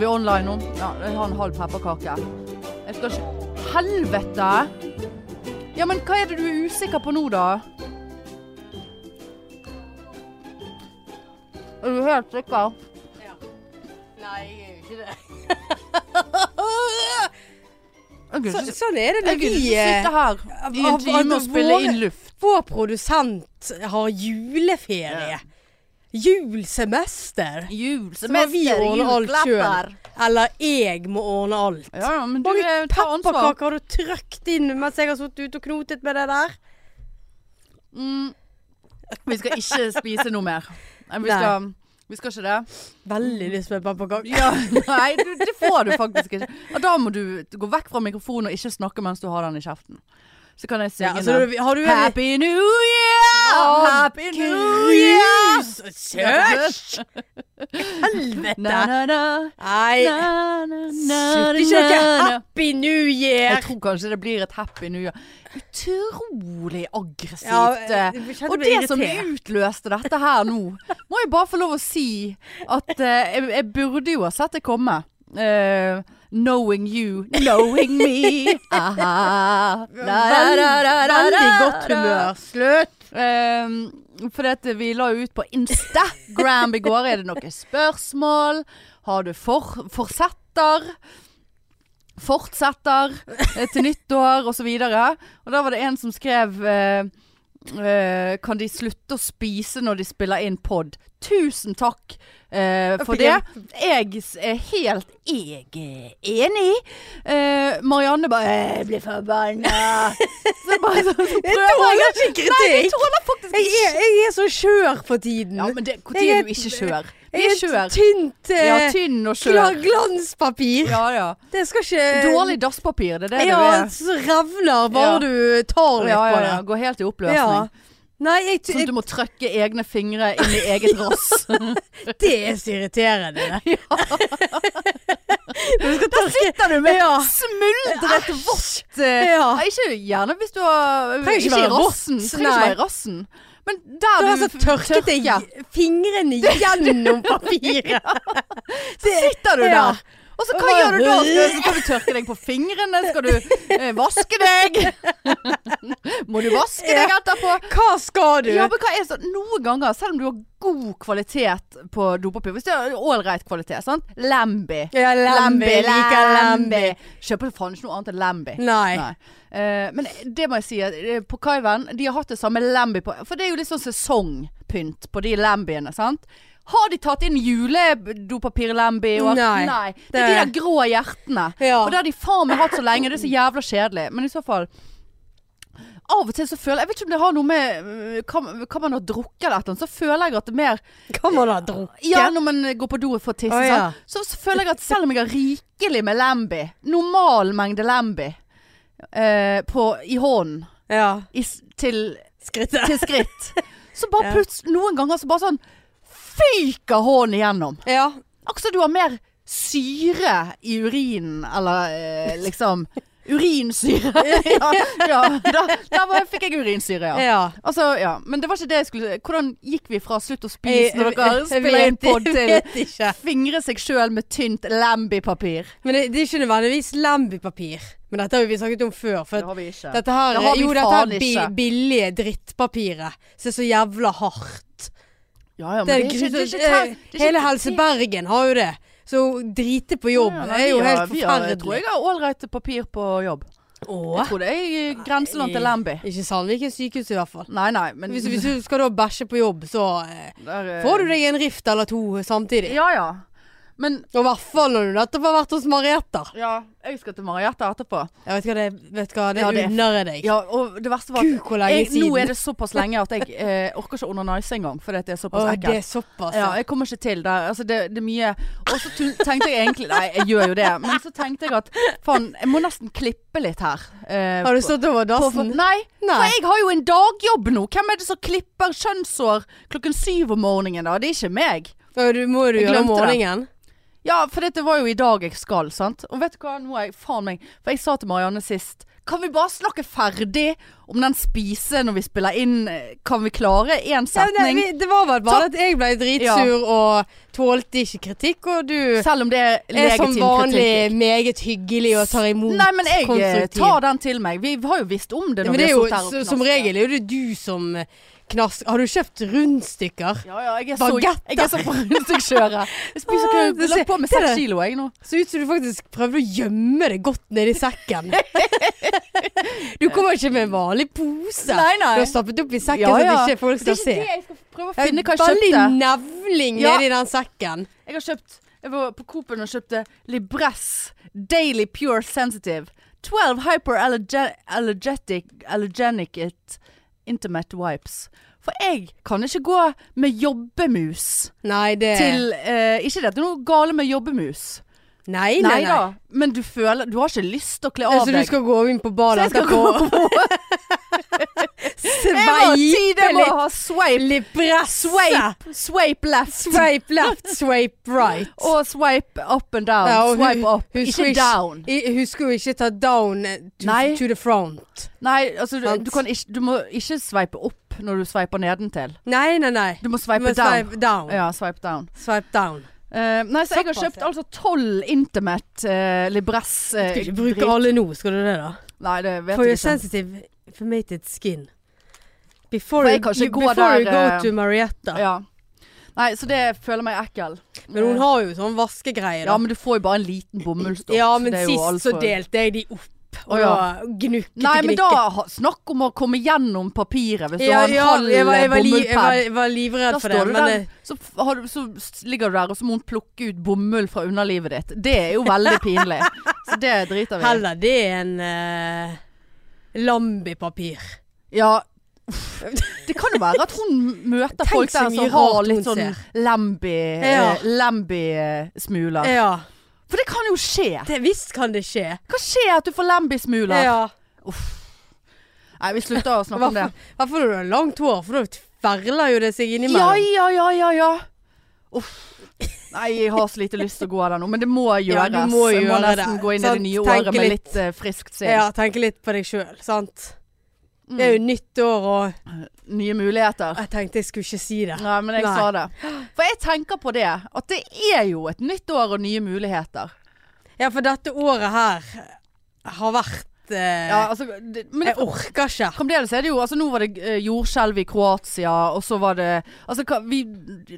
vi online nå? Ja, jeg har en halv pepperkake. Jeg skal ikke Helvete! Ja, men hva er det du er usikker på nå, da? Er du helt sikker? Nei, jeg gjør ikke det. Jeg Så, gidder ikke- sånn er det jeg når gidder vi ikke sitte eh, her i en av- time av og spille våre- inn luft. Vår produsent har juleferie. Julsemester. Julsemester, Så må vi ordne alt sjøl. Eller jeg må ordne alt. Ja, ja, men du Hvor eh, mange tar ansvar. pepperkaker har du trøkt inn mens jeg har sittet ute og knotet med det der? Mm. Vi skal ikke spise noe mer. Nei, vi Nei. skal, vi skal ikke det. Veldig lyst på en pepperkake. Mm. Ja, nei, du, det får du faktisk ikke. Og da må du gå vekk fra mikrofonen og ikke snakke mens du har den i kjeften. Så kan jeg synge Ja, altså, den. har du en Happy New Year! Å, Happy New Year! Grus! Søsj! Na, Helvete! na, na, Nei, na, na, na, sutt ikke noe na, na. happy new Jeg year! tror kanskje det blir et Happy New Year. Utrolig aggressivt. eh, jeg kjente Og meg det som irritert. utløste dette her nå, må jeg bare få lov å si at eh, jeg, jeg burde jo ha sett det komme. Eh, knowing you, knowing me. Aha. Veldig godt humør. Slutt! Eh, for dette, vi la jo ut på Instagram i går. Er det noen spørsmål? Har du for, forsetter? Fortsetter eh, til nyttår osv. Og da var det en som skrev eh, eh, Kan de slutte å spise når de spiller inn pod? Tusen takk eh, for det. Jeg s- er helt Jeg er enig. Eh, Marianne bare «Eh, Jeg blir forbanna. Så bare sånn så Jeg prøver tåler ikke Nei, jeg kritikk! tåler faktisk Jeg er, jeg er så skjør for tiden. Ja, men det, hvor Jeg tid er er- du ikke skjør? Vi jeg er er et skjør. tynt eh, Ja, tynn og gla- skjør. glanspapir. Ja, ja. Det skal ikke Dårlig dasspapir, det er det du Eh, Ja, er. så revner Ja. bare du tar Ja, litt ja, på ja. det. Går helt i oppløsning. Nei, jeg, Sånn at jeg, du må trøkke egne fingre inn i eget rass. det er så irriterende. det. Når du skal Der sitter du med Ja. smuldret vått eh, Ja. nei, Ikke gjerne hvis du har Trenger ikke i være vått, rassen. Trenger nei. ikke være i rassen. Men der Du du har så tørket deg tørker, fingrene gjennom papiret. så sitter du Ja. der. Og så Og hva bare- gjør du da? Skal, skal du tørke deg på fingrene? Skal du eh, vaske deg? Må du vaske deg etterpå? Hva skal du? Ja, men hva er så, Noen ganger, selv om du har god kvalitet på dopapir Hvis det er ålreit kvalitet, sant? Lambi. Ja, Lambi. Liker Lambi. Kjøper faen ikke noe annet enn Lambi. Nei. Nei. Eh, men det må jeg si, at, eh, på Kaiven de har hatt det samme Lambi på For det er jo litt sånn sesongpynt på de Lambiene, sant? Har de tatt inn juledopapir-Lambi? og- Nei. Nei. Det er de der grå hjertene. Ja. Og det har de faen meg hatt så lenge. Det er så jævla kjedelig. Men i så fall Av og til så føler jeg Jeg vet ikke om det har noe med øh, hva, hva man har drukket eller et eller annet. Så føler jeg at det er mer Kan man ha drukket? ja, når man eh, går på do og får tisse, Å, ja. sant? så, så føler jeg at selv om jeg har rikelig med Lambi, normal mengde Lambi, eh, på, i hånden ja. i, s- til, Skrittet. til skritt, så bare Ja. plutselig noen ganger så bare sånn fyker hånden igjennom. Ja. Akkurat som du har mer syre i urinen, eller eh, liksom Urinsyre. ja, ja da, da var- fikk jeg urinsyre, ja. ja. Altså, ja. Men det var ikke det jeg skulle Hvordan gikk vi fra slutt å Jeg- spise når dere jeg spiller inn vet- pod til Jeg vet ikke. Fingre seg sjøl med tynt Lambi-papir. Men det, det er ikke nødvendigvis Lambi-papir. Men dette har jo vi snakket om før. For at har vi ikke. Dette her, Det har vi jo, dette faen her bi ikke. billige drittpapiret som er så jævla hardt. Ja, ja, men Det det er er ikke, grusomt. det er ikke, ter- det er ikke Hele Helse Bergen har jo det. Så å drite på jobb Ja, det nei, er jo vi har- helt vi har- Jeg tror forferdelig. jeg har ålreit papir på jobb. Jeg Åh. tror det er i grenseland til Lambi. Mm. Ikke Sandviken sykehus i hvert fall. Nei, nei, men Hvis, hvis du skal da bæsje på jobb, så eh, får du deg en rift eller to samtidig. Ja, ja. Men Og i hvert fall når du nettopp har vært hos Marietta. ja, jeg skal til Mariette etterpå. Jeg vet hva det, vet hva, det Ja, det er- unner jeg deg. Ja, og det verste var Gud, at hvor lenge jeg, nå er siden. det såpass lenge at jeg eh, orker ikke å onanise engang, fordi at det er såpass Åh, ekkelt. det er såpass. Ja, jeg kommer ikke til der. Altså, det, det er mye Og så tu- tenkte jeg egentlig Nei, jeg gjør jo det. Men så tenkte jeg at faen, jeg må nesten klippe litt her. eh, Har du på- stått over på- på- dassen? Nei, for Nei. jeg har jo en dagjobb nå. Hvem er det som klipper kjønnshår klokken syv om morgenen da? Det er ikke meg. Åh, Du må jo Jeg gjøre glemte det. om morgenen. Ja, for dette var jo i dag jeg skal, sant. Og vet du hva, nå er jeg faen meg For jeg sa til Marianne sist Kan vi bare snakke ferdig om den spise når vi spiller inn? eh, Kan vi klare én Ja, nei, setning? vi, det var vel bare at jeg ble dritsur og tålte ikke kritikk, og du Selv om det er er som legitim kritikk. vanlig meget hyggelig og tar imot Nei, men jeg eh, konstruktiv. tar den til meg. Vi har jo visst om det når Men det vi er jo har sittet her så- og som knast. regel er jo det du som knask... Har du kjøpt rundstykker? Ja, ja, jeg er Bagetter. så, jeg er så forhundsekjøret. Jeg spiser Ah, ikke det jeg har ser- lagt på med det er seks det. kilo jeg nå. Så ut som du faktisk prøvde å gjemme det godt nedi sekken. du kommer ikke med en vanlig pose. Nei, nei. Du har stappet opp i sekken Ja, så ja. at ikke folk Men det er skal se. ikke det jeg skal prøve å Det er finne hva jeg Veldig kjøpte. nevling Ja. nedi den sekken. Jeg har kjøpt Jeg var på Coop-en og kjøpte Libress Daily Pure Sensitive 12 Hyperallergenic Allergenic It Intimate Wipes For jeg kan ikke gå med jobbemus Nei, det Til eh, Ikke det, det er noe gale med jobbemus Nei, nei, nei. da Men du føler Du har ikke lyst til å kle Ja, av Så du deg skal gå inn på ballen Så jeg skal etterpå? Jeg må si det Sveipe må litt. ha swipe Libresse. Swipe Swipe left Swipe left, swipe right. Og swipe up and down Ja, og hun- Swipe up hun Ikke skulle ikke- down I- Husk å ikke ta down eh, to, Nei. to the front. Nei, altså du, Sant. du, kan ikke, du må ikke sveipe opp når du sveiper nedentil. Nei, nei, nei. Du må Du sveipe må down. Swipe down. Ja, swipe down. Swipe down. Eh, nei, så jeg har Såpass, kjøpt ja. altså tolv Intimate eh, Libress eh, Skal ikke drit- bruke alle nå, skal du det, da? Nei, det vet For jeg your ikke. sensitive formated skin. Before, For jeg you, kan ikke gå before you der, eh, go to Marietta. Ja. Nei, så det føler meg ekkel. Men hun har jo sånn vaskegreie, Ja, da. men du får jo bare en liten bomullsdott. Ja, så men det er jo alt sist så for- delte jeg de opp. Og Å, ja. da gnukket Nei, men da gnukket. ha- Snakk om å komme gjennom papiret hvis ja, du ja, har en jeg var, halv jeg, var li, jeg, var, bomullspad. jeg var livredd Da for det. står du Men der, så, f- har du, så s- ligger du der, og så må hun plukke ut bomull fra underlivet ditt. Det er jo veldig pinlig. Så det driter eh, vi i. heller det enn uh, Lambi-papir. Ja uff. Det kan jo være at hun møter Tenk folk så der som mye har rart litt hun sånn ser. lambi Ja. eh, Lambi-smuler. Ja. For det kan jo skje. Det, visst kan det skje. Hva skjer at du får lambi-smuler? Ja. Nei, vi slutter å snakke om det. I hvert fall når du har langt hår, for da tverler jo det seg Ja, innimellom. ja, ja, ja, ja. Uff. Nei, jeg har så lite lyst til å gå der nå, men det må Ja, gjøres. du må jeg må gjøre nesten det. gå inn i Sant? det nye Tenke året med litt. litt eh, friskt sinn. Ja, tenke litt på deg sjøl, sant. Mm. Ah. Det er jo nytt år, og Nye muligheter. jeg tenkte jeg skulle ikke si det. Nei, men jeg Nei. sa det. For jeg tenker på det, at det er jo et nytt år og nye muligheter. Ja, for dette året her har vært eh, Ja, altså, det, men det, Jeg orker ikke. fremdeles er det jo altså, Nå var det eh, jordskjelv i Kroatia, og så var det Altså, hva- vi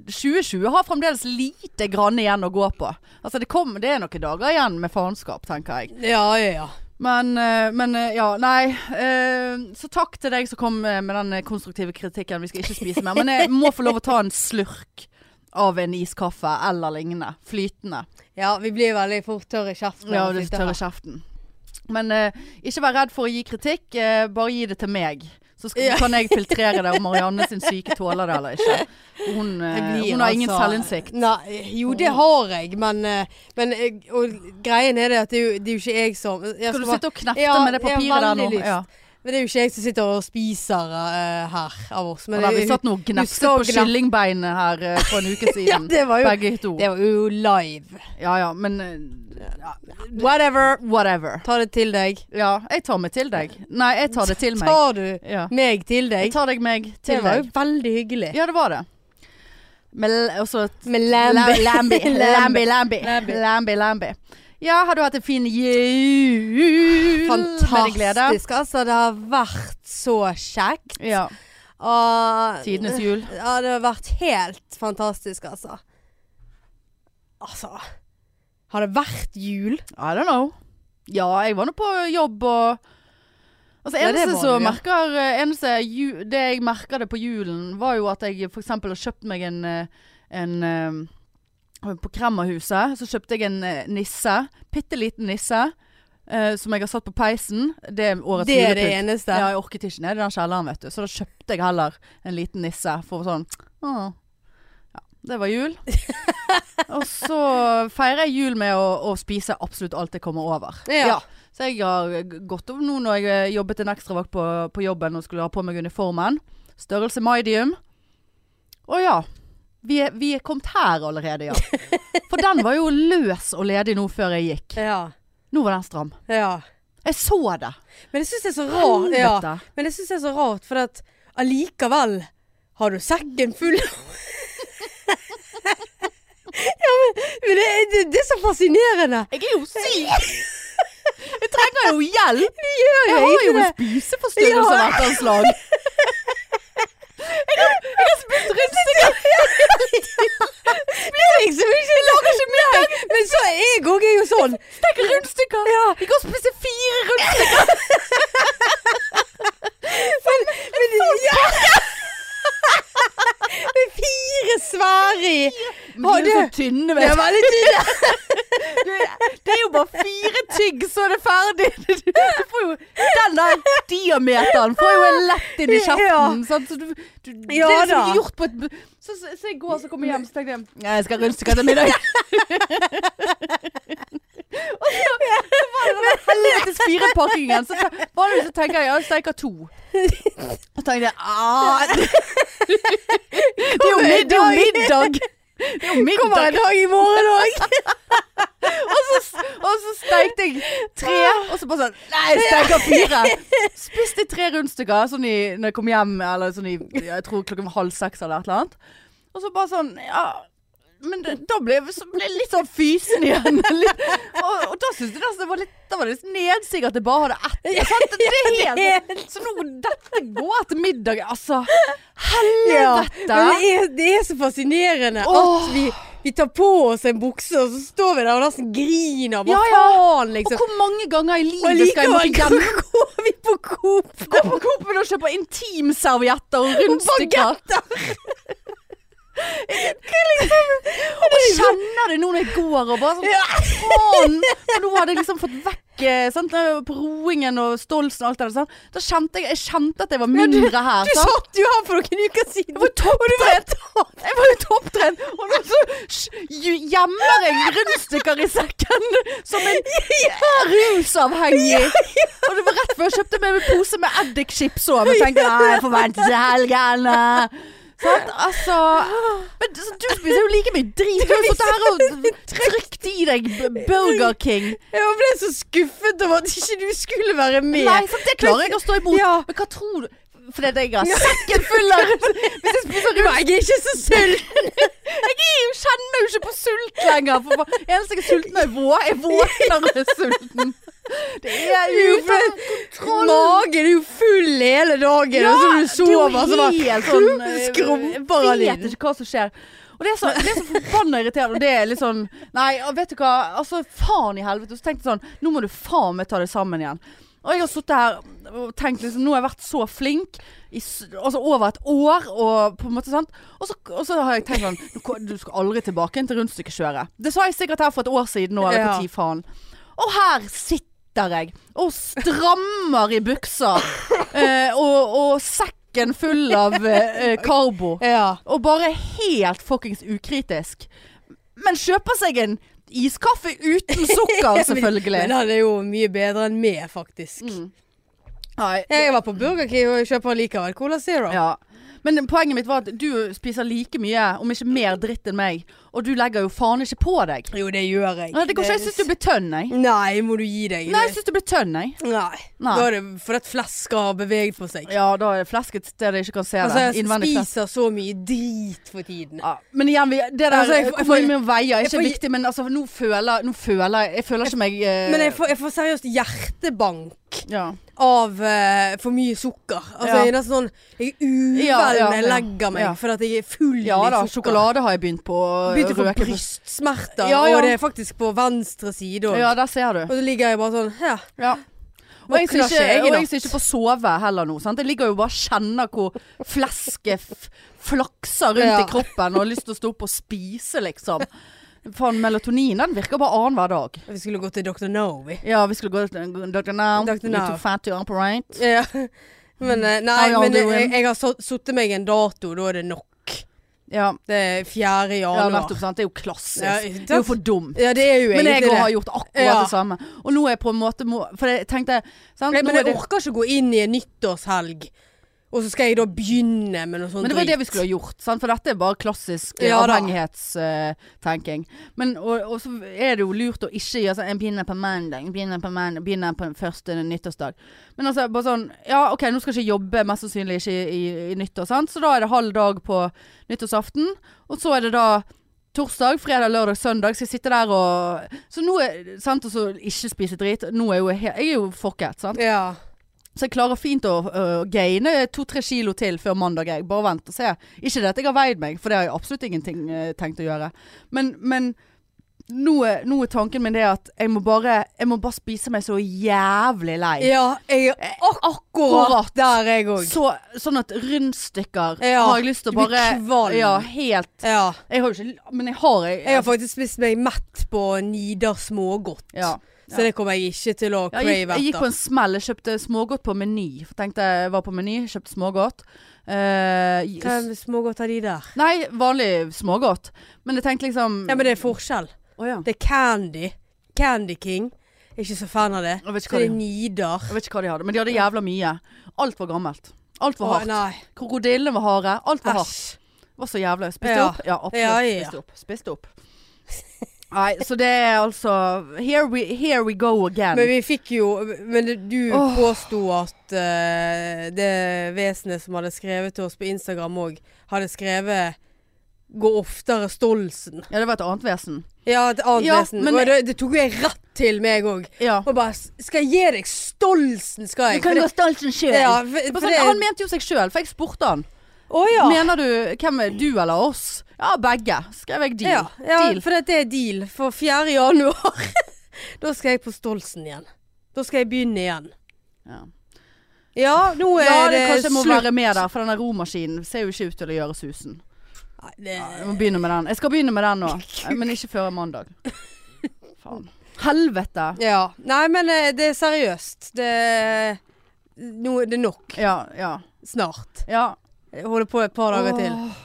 2020 har fremdeles lite grann igjen å gå på. Altså, det, kom, det er noen dager igjen med faenskap, tenker jeg. Ja, ja, ja. Men, eh, men eh, ja, nei. eh, Så takk til deg som kom eh, med den eh, konstruktive kritikken. Vi skal ikke spise mer. Men jeg må få lov å ta en slurk av en iskaffe eller lignende. Flytende. Ja, vi blir veldig fort tørre i kjeften. Ja, av å du sitte tørre her. kjeften. Men eh, ikke vær redd for å gi kritikk, eh, bare gi det til meg. Så skal, Ja. kan jeg filtrere det om Marianne sin syke tåler det eller ikke. Hun, eh, Jeg blir hun har ingen altså- selvinnsikt. Mm. Nei, jo det har jeg, men, eh, men eh, Og greien er det at det er jo, det er jo ikke jeg som jeg Skal du bare- sitte og knefte Ja, med det jeg har papiret der nå? veldig lyst. Ja. Men det er jo ikke jeg som sitter og spiser eh, her av oss. Men Og der vi det- satt nå og gnefset skal på gnaf- kyllingbeinet her eh, for en uke ja, siden. det var jo Begge to. Det var jo live. Ja ja, men eh, ja, Whatever. whatever. Ta det til deg. Ja, jeg tar meg til deg. Nei, jeg tar det til meg. Tar du Ja. meg til Jeg deg? tar deg meg Det til var jo deg. veldig hyggelig. Ja, det var det. Med, l- og så Med Lambi. Lambi, Lambi, Lambi. Lambi. Lambi. Lambi, Lambi. Ja, har du hatt en fin jul? Med din glede? Fantastisk. Altså, det har vært så kjekt. Ja. Og Tidenes jul. Ja, det har vært helt fantastisk, altså. Altså Har det vært jul? I don't know. Ja, jeg var nå på jobb og Altså, Ja, det eneste var du, som ja. merker eh, eneste ju, Det jeg merker det på julen, var jo at jeg f.eks. har kjøpt meg en, eh, en eh, På Kremmerhuset så kjøpte jeg en eh, nisse. Bitte liten nisse. eh, som jeg har satt på peisen. Det er årets Det er det julepunt. eneste. Ja, jeg orket ikke ned i den kjelleren, vet du. Så da kjøpte jeg heller en liten nisse for sånn «Åh, Ja, det var jul. og så feirer jeg jul med å, å spise absolutt alt jeg kommer over. Ja. Så jeg har g- gått over nå når jeg eh, jobbet en ekstravakt på, på jobben og skulle ha på meg uniformen. Størrelse medium. Å ja. vi er, vi er kommet her allerede, ja. For den var jo løs og ledig nå før jeg gikk. Ja. Nå var den stram. ja. Jeg så det. Men jeg syns det er så rart. Ja. Helvete. Men jeg synes det er så rart, for at allikevel har du sekken full Ja, men, men det, det, det er så fascinerende. Jeg er jo syk! Jeg trenger jo hjelp! Jeg jo har jo ikke en det. spiseforstyrrelse Ja. av et eller annet slag. Jeg har, jeg har spist rundstykker. Jeg som ikke lager ikke middag. Men så er jeg òg jo sånn. Steker rundstykker. Ja. Jeg kan spise fire rundstykker. Men, sånn. ja. Med fire svære i. Men de er jo Har så tynne, Det vet er veldig tydelig. du. Det er jo bare fire tygg, så er det ferdig. Du får jo, den der diameteren får jo jeg lett inn i kjeften. Sant? Så du, du, Ja det er da. liksom gjort på et bu- så, så, så jeg går så kommer jeg hjem, så tenker jeg Nei, jeg skal ha rundstykker til middag. helvetes firepakkingen, så te- var det så tenker jeg, ja, jeg steker to. Og tenkte jeg, ah, det er jo mid- det er jo middag. Det er jo Kommer middag. en dag i morgen òg. Og så, og så stekte jeg tre, og så bare sånn, nei, jeg steker fire. Spiste tre rundstykker, sånn i, når jeg kom hjem, eller sånn i, ja, jeg tror klokken var halv seks eller et eller annet. Og så bare sånn, ja... Men det, da ble jeg så ble jeg litt sånn fysen igjen. Litt, og, og da syntes jeg nesten det var litt, da var det litt nedsig at jeg bare hadde ett. Sant? Det er helt Så nå, dette går til middag, altså. Helvete! Men det er, det er så fascinerende Åh. at vi, vi tar på oss en bukse, og så står vi der og nesten griner. Hva Ja, ja. faen, og liksom. hvor mange ganger i Og livet skal jeg måtte likevel glemme går vi på Coop. Gå på Coop og kjøpe intimservietter og rundstykker. liksom. Og kjenner det nå når jeg går og bare sånn Ja. faen! For nå hadde jeg liksom fått vekk eh, sant? på roingen og stolsen og alt det der. sant? Da kjente jeg, jeg kjente at jeg var Ja, du- mindre her. Du sant? satt jo her for noen uker siden. Jeg var jo topptrent! Jeg var jo topptrent! Og nå så sj- ju- gjemmer jeg rundstykker i sekken som en rusavhengig. Og det var rett før jeg kjøpte meg en pose med eddikchips òg. Jeg tenkte "Nei, jeg får vente til helgen. Sant? Altså Men så, du spiser jo like mye drit. Du har jo sittet her og trykt i deg b- Burger King. Jeg ble så skuffet over at ikke du skulle være med. Nei, sant, det klarer jeg å stå imot. Ja. Men hva tror du? Fordi at jeg har sekken full av Hvis jeg spiser Nei, jeg er ikke så sulten. Jeg kjenner jo ikke på sult lenger. For hva- eneste jeg er sulten, er vå. Jeg våkner og er sulten. Det er jo Ufødt. uten kontroll. Magen er jo full hele dagen, og så når du sover, så bare helt eh, skrumper han Jeg inn. vet ikke hva som skjer. Og det er så, det er så forbanna irriterende. Og det er litt sånn Nei, og vet du hva. Altså, faen i helvete. Og så tenkte jeg sånn Nå må du faen meg ta det sammen igjen. Og jeg har sittet her og tenkt liksom Nå har jeg vært så flink i s- altså over et år og på en måte sant. Og så, og så har jeg tenkt sånn "Du ko- Du skal aldri tilbake inn til rundstykkekjøret. Det sa jeg sikkert her for et år siden nå, eller Ja. hva tid faen. Og her sitter jeg og strammer i buksa. Eh, og, og sekken full av eh, eh, karbo. Ja. Og bare helt fuckings ukritisk. Men kjøper seg en iskaffe uten sukker, selvfølgelig. Mm. Men han er jo mye bedre enn meg, faktisk. Nei, Jeg var på Burger King og kjøper likevel Cola Zero. Ja. Men poenget mitt var at du spiser like mye, om ikke mer dritt enn meg. Og du legger jo faen ikke på deg. Jo, det gjør jeg. Nei, det går ikke. Jeg syns du blir tønn, jeg. Nei, må du gi deg. Nei, jeg syns du blir tønn, jeg. Nei. Nei. Da er det for at flesker har beveget på seg. Ja, da er det flesk et sted jeg ikke kan se det. Altså, jeg Innvendig flesk. spiser så mye drit for tiden. Ja, men igjen, vi, det der Altså, jeg- jeg Hvor får- mye veier er jeg ikke får- viktig, men altså, nå føler, nå føler jeg Jeg føler ikke meg eh, Men jeg får, jeg får seriøst hjertebank ja. av eh, for mye sukker. Altså, Ja. jeg er nesten sånn Jeg er uvel Ja, ja, når jeg ja. legger meg, Ja. for at jeg er full ja i da, sukker. sjokolade har jeg begynt på. å Begynte å få røke på. brystsmerter, Ja, ja. og det er faktisk på venstre side òg. Ja, der ser du. Og så ligger jeg bare sånn Ja. Ja. Og jeg som Våkner ikke, ikke jeg i og jeg natt. som ikke får sove heller nå. Sant? Jeg ligger jo bare og kjenner hvor flesket f- flakser rundt Ja. i kroppen og har lyst til å stå opp og spise, liksom. Faen, melatonin den virker bare annenhver dag. Vi skulle gå til Dr. No, vi. Ja, vi skulle gå til Dr. Now. Dr. You're Now. too fat to operate. Ja. Men How eh, nei, y'all men jeg, doing? jeg har sittet meg en dato, da er det nok. Ja, Det er 4. ja januar. nettopp. Sant? Det er jo klassisk. Ja, det er jo for dumt. Ja, det er jo Men egentlig jeg det. også har gjort akkurat Ja. det samme. Og nå er jeg på en måte må, For jeg tenkte sant? Nei, nå men er jeg det, orker ikke å gå inn i en nyttårshelg Og så skal jeg da begynne med noe sånt Men det var jo det drit. vi skulle ha gjort, sant? for dette er bare klassisk eh, sånn Ja da. avhengighetstenking. Men og, og så er det jo lurt å ikke gjøre sånn En begynner på mandag, en begynner på mandag, begynner på første nyttårsdag. Men altså bare sånn Ja, OK, nå skal jeg ikke jobbe, mest sannsynlig ikke i, i, i nyttår, sant? så da er det halv dag på nyttårsaften. Og så er det da Torsdag, fredag, lørdag, søndag skal jeg sitte der og Så nå er Sant, og så ikke spise drit. Nå er jo jeg, he- jeg er jo fucket, sant. Ja. Så jeg klarer fint å øh, gaine to-tre kilo til før mandag. Jeg. Bare vent og se. Ikke det at jeg har veid meg, for det har jeg absolutt ingenting øh, tenkt å gjøre. Men, men nå, er, nå er tanken min det at jeg må, bare, jeg må bare spise meg så jævlig lei. ja, jeg er akkurat Eh, akkurat. der, jeg òg. Så, sånn at rundstykker Ja, har jeg lyst til å du blir bare kvalm. Ja, helt Ja. Jeg har jo ikke Men jeg har jeg, Jeg har faktisk spist meg mett på Nidar smågodt. ja. Så det kommer jeg ikke til å Ja, jeg, gikk, crave jeg gikk på etter. en smell. Jeg kjøpte smågodt på Meny. For Tenkte jeg var på Meny, kjøpte smågodt. Eh, Hva er smågodt av de der? Nei, vanlig smågodt. Men jeg tenkte liksom Ja, men det er forskjell. Å ja. Det er Candy. Candy King. Jeg er ikke så fan av det. Jeg vet Så ikke hva det de, er Nidar. jeg vet ikke hva de hadde, men de hadde jævla mye. Alt var gammelt. Alt var Å, hardt. Nei. Krokodillene var harde. Alt var hardt. Æsj. Var så jævla Spiste Ja. opp? Ja, absolutt. Ja, ja. Spiste opp. Spiste opp. Nei, så det er altså Here we, here we go again. Men vi fikk jo Men det- du Åh. påsto at eh, det vesenet som hadde skrevet til oss på Instagram òg, hadde skrevet 'Gå oftere Stolsen'. ja, det var et annet vesen. Ja, et annet Ja, vesen. men- Og det, det tok jo jeg rett til meg òg. Ja. Og bare 'Skal jeg gi deg Stolsen', skal jeg. For det- stolten sjøl. ja, for, for det, sånn, Han mente jo seg sjøl, for jeg spurte han. Å ja. Mener du hvem er du eller oss? Ja, begge. Skrev jeg ja, deal. ja Deal. for det er deal. For 4. januar Da skal jeg på Stolsen igjen. Da skal jeg begynne igjen. Ja. Ja, nå er Ja, det, det, kanskje jeg må slutt. være med der, for denne romaskinen ser jo ikke ut til å gjøre susen. Nei, det, Jeg må begynne med den. Jeg skal begynne med den nå, eh, men ikke før mandag. Faen. Helvete. Ja. Nei, men eh, det er seriøst. Det, nå er det nok. Ja, ja. Snart. ja. Jeg holder på et par dager til. Åh.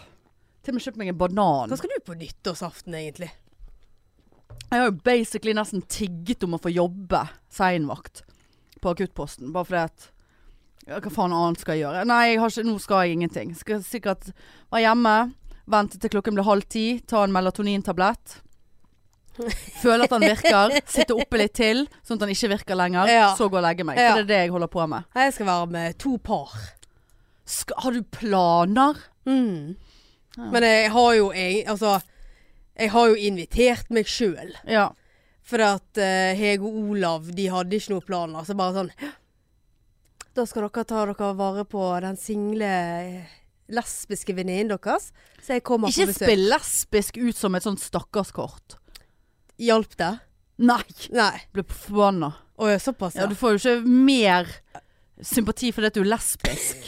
Til og med kjøpt meg en Hva banan. skal du på nyttårsaften, egentlig? Jeg har jo basically nesten tigget om å få jobbe seinvakt på akuttposten. Bare fordi at ja, Hva faen annet skal jeg gjøre? Nei, jeg har ikke, nå skal jeg ingenting. Skal sikkert være hjemme, vente til klokken blir halv ti, ta en melatonintablett. Føle at han virker, sitte oppe litt til, sånn at han ikke virker lenger. Ja. Så gå og legge meg. Ja. For det er det jeg holder på med. Nei, Jeg skal være med to par. Sk har du planer? Mm. Ja. Men jeg har jo jeg, Altså, jeg har jo invitert meg sjøl. Ja. For at eh, Hege og Olav de hadde ikke noen planer. Så bare sånn Da skal dere ta dere vare på den single eh, lesbiske venninnen deres. Så jeg kommer Ikke på besøk. spill lesbisk ut som et sånt stakkarskort. Hjalp det? Nei! Nei. Ble forbanna. Å ja, såpass, Ja, du får jo ikke mer sympati fordi at du er lesbisk.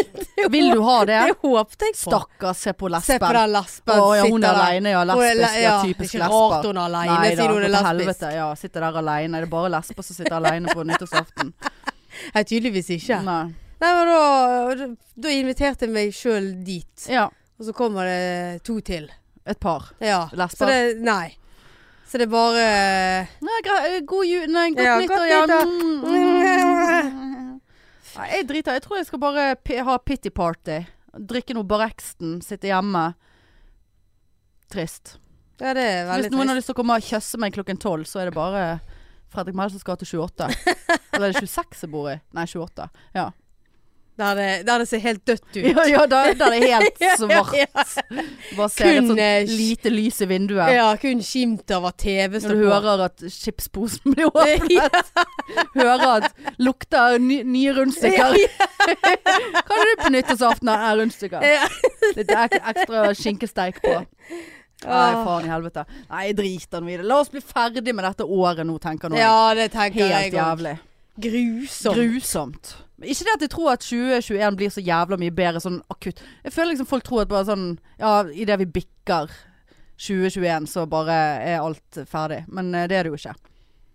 Vil du ha det? Det håpet jeg på. Stakkars, se på lesben. Se på den lesben. Å, ja, hun sitter er der. aleine, ja. Hun er le- Lesbisk, ja. Typisk Ikke rart lesber. hun er Nei aleine, da, siden hun er gå til lesbisk. helvete. Ja, sitter der aleine. Det er bare lesber som sitter aleine på nyttårsaften. Nei, tydeligvis ikke. Nei, Nei. men da, da inviterte jeg meg sjøl dit. Ja, Og så kommer det to til. et par. Ja. Så Lesber. det Nei. Så det er bare Nei, gra- eh, god jul Nei, godt Ja, nyttår, godt ja. nyttår. Mm. Nei, jeg driter. Jeg tror jeg skal bare p ha pity party. Drikke noe Barexten, sitte hjemme. Trist. Ja, det er Hvis veldig noen har trist. lyst til å komme og kjøsse meg klokken tolv, så er det bare Fredrik Melsens gate 28. Eller er det 26 jeg bor i? Nei, 28. Ja, Der det, der det ser helt dødt ut. ja, ja der, der er det helt svart. Ja, Bare ser et Kun, eh, sånt lite lys i ja. vinduet. ja, kun skimt av at TV Når står du på. hører at chipsposen blir åpnet. Hører at lukter ny, nye rundstykker. Hva er det du på nyttårsaften har rundstykker? Ja. Litt ek ekstra skinkesteik på. Nei, faen i helvete. Nei, jeg driter nå i det. La oss bli ferdig med dette året nå, tenker nå. jeg. Ja, det tenker Helt jeg òg. jævlig. Grusomt. Grusomt. Men Ikke det at jeg tror at 2021 blir så jævla mye bedre sånn akutt. Jeg føler liksom folk tror at bare sånn Ja, idet vi bikker 2021, så bare er alt ferdig. Men eh, det er det jo ikke.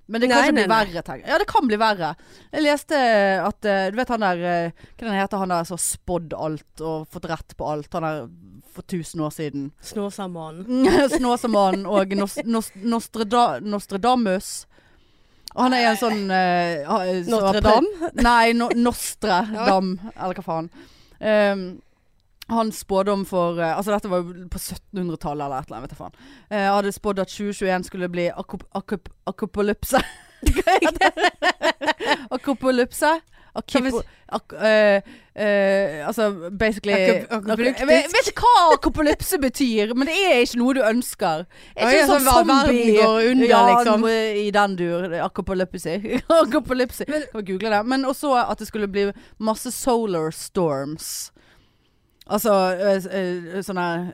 Men det kan Nei, ikke bli nei, nei. verre, tenker jeg. Ja, det kan bli verre. Jeg leste at eh, Du vet han der eh, Hva den heter han der som har spådd alt og fått rett på alt? Han der for 1000 år siden. Snåsamannen. Snåsamannen og Nos Nos Nostrada Nostradamus. Og han er en sånn eh, ha- som har Notre Dame? prøvd- Nei, no Nostredam, eller hva faen. Ehm, hans spådom for eh, Altså dette var jo på 1700-tallet eller et eller annet, vet jeg faen. Eh, hadde spådd at 2021 skulle bli akup, akup, akupolypse. akupolypse. Kan vi Akipo, s- ak, eh, eh, altså basically Akup- ak- akupolyktisk. Jeg vet- vet ikke hva akopolypse betyr, men det er ikke noe du ønsker. Det Oi, Er ikke altså, sånn ver- verden zombie går under, ja, liksom. noe i den dur. Akopolypse. akopolypse. Men- Kan vi google det. Men også at det skulle bli masse solar storms. Altså eh, eh, sånne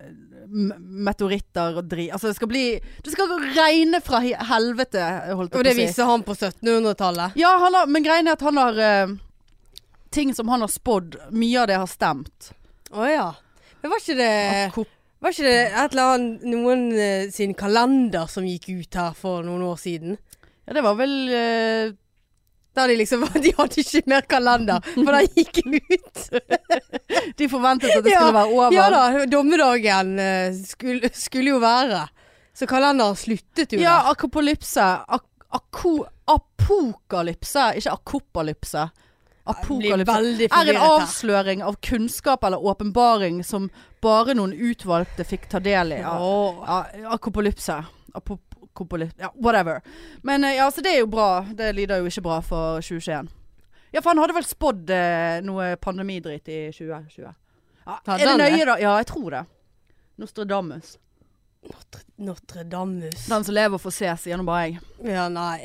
m- meteoritter og dri... Altså det skal bli Det skal regne fra he- helvete, holdt jeg Og på det å si. viser han på 1700-tallet. Ja, han har, men greien er at han har eh, Ting som han har spådd, mye av det har stemt. Å ja. Men var ikke det Akop- Var ikke det et eller annet noen eh, sin kalender som gikk ut her for noen år siden? Ja, det var vel eh, Der de liksom De hadde ikke mer kalender, for den gikk ut. De forventet at det Ja, skulle være over. Ja da, dommedagen eh, skulle, skulle jo være. Så kalenderen sluttet jo. Ja, akopolypse. Ak ako apokalypse, ikke akopalypse. Blir Apokalypse er veldig en forvirret her. avsløring av kunnskap eller åpenbaring som bare noen utvalgte fikk ta del i. Ja. Åh. Ja, akopolypse. Apokopolypse. Ja, whatever. Men eh, ja, så det er jo bra. Det lyder jo ikke bra for 2021. Ja, for han hadde vel spådd eh, noe pandemidrit i 2020. Ja, Hadde er det han det? nøye, da? Ja, jeg tror det. Nostradamus. Notre-Damus. Den som lever, får se, sier nå bare jeg. Ja, nei.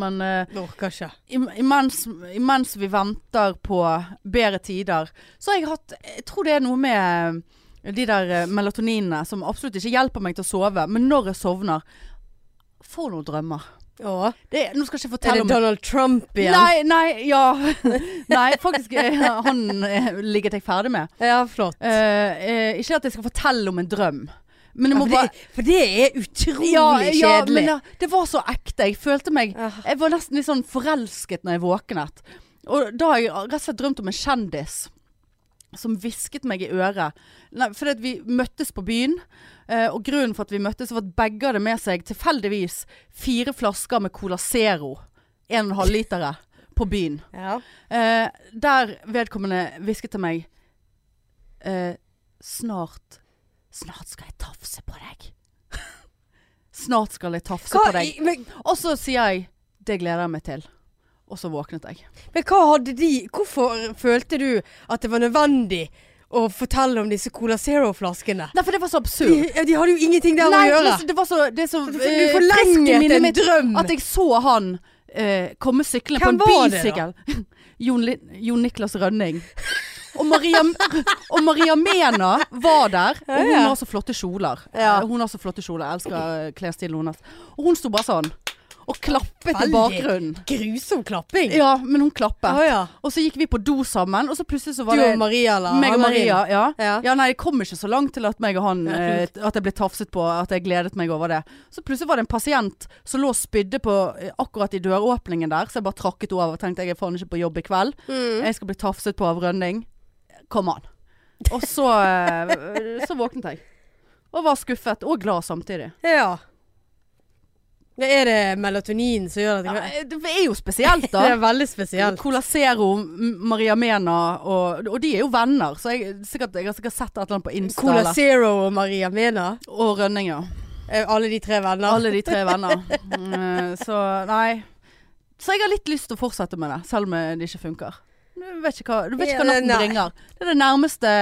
Men eh, Orker ikke. im- imens, imens vi venter på bedre tider, så har jeg hatt Jeg tror det er noe med de der eh, melatoninene som absolutt ikke hjelper meg til å sove, men når jeg sovner For noen drømmer. Åh. Det, er- nå skal jeg ikke Er fortelle det om Donald Trump igjen? Nei, nei, ja. nei, faktisk. eh, Han eh, ligget jeg ferdig med. Ja, flott. Eh, eh, ikke at jeg skal fortelle om en drøm, men jeg Ja, må for, bare det, for det er utrolig ja, kjedelig. men ja, det var så ekte. Jeg følte meg Ah. Jeg var nesten litt sånn forelsket når jeg våknet. Og da har jeg rett og slett drømt om en kjendis som hvisket meg i øret. Nei, fordi at vi møttes på byen, eh, og grunnen for at vi møttes var at begge hadde med seg tilfeldigvis fire flasker med Cola Zero, 1,5 litere, på byen. Ja. Eh, der vedkommende hvisket til meg eh, Snart Snart skal jeg tafse på deg. snart skal jeg tafse Hva, på deg. i- men, Og så sier jeg 'det gleder jeg meg til'. Og så våknet jeg. men hva hadde de Hvorfor følte du at det var nødvendig å fortelle om disse Cola Zero-flaskene? Nei, for det var så De, absurd. ja, de hadde jo ingenting der Nei, å gjøre. men det var så, det er så Du, eh, du friskt i minnet forlenget en mitt drøm. at jeg så han eh, komme syklende Mm. Hvem på var en det bysykkel. Jon, Li- Jon Niklas Rønning. Og Maria, og Maria Mena var der, og hun ja. har så flotte kjoler. Ja. Eh, Hun har så flotte kjoler, jeg elsker eh, klesstilen hennes. Og hun sto bare sånn, og klappet Veldig i bakgrunnen. Grusom klapping. Ja, men hun klappet. Å, ja. Og så gikk vi på do sammen, og så plutselig så Du var det og Maria, eller? meg og Anna Maria. Maria. Ja. Ja. Ja, nei, jeg kom ikke så langt til at meg og han Ja. eh, At jeg ble tafset på, at jeg gledet meg over det. Så plutselig var det en pasient som lå og spydde på eh, akkurat i døråpningen der, så jeg bare trakket over og tenkte jeg er faen ikke på jobb i kveld. Mm. Jeg skal bli tafset på av Rønning. Kom an. Og så, eh, så våknet jeg. Og var skuffet, og glad samtidig. ja. Men Er det melatonin som gjør Ja, eh, at det, det er jo spesielt, det da. er veldig spesielt? Cola Zero, M- Maria Mena og, og de er jo venner, så jeg, sikkert, jeg har sikkert sett et eller annet på Insta. Cola eller- Zero og Maria Mena, Og Rønning, ja. er alle de tre venner. Alle de tre venner. Mm, så nei. Så jeg har litt lyst til å fortsette med det, selv om eh, det ikke funker. Du vet ikke hva, du vet ikke hva Ja, natten nei. bringer. Det er det nærmeste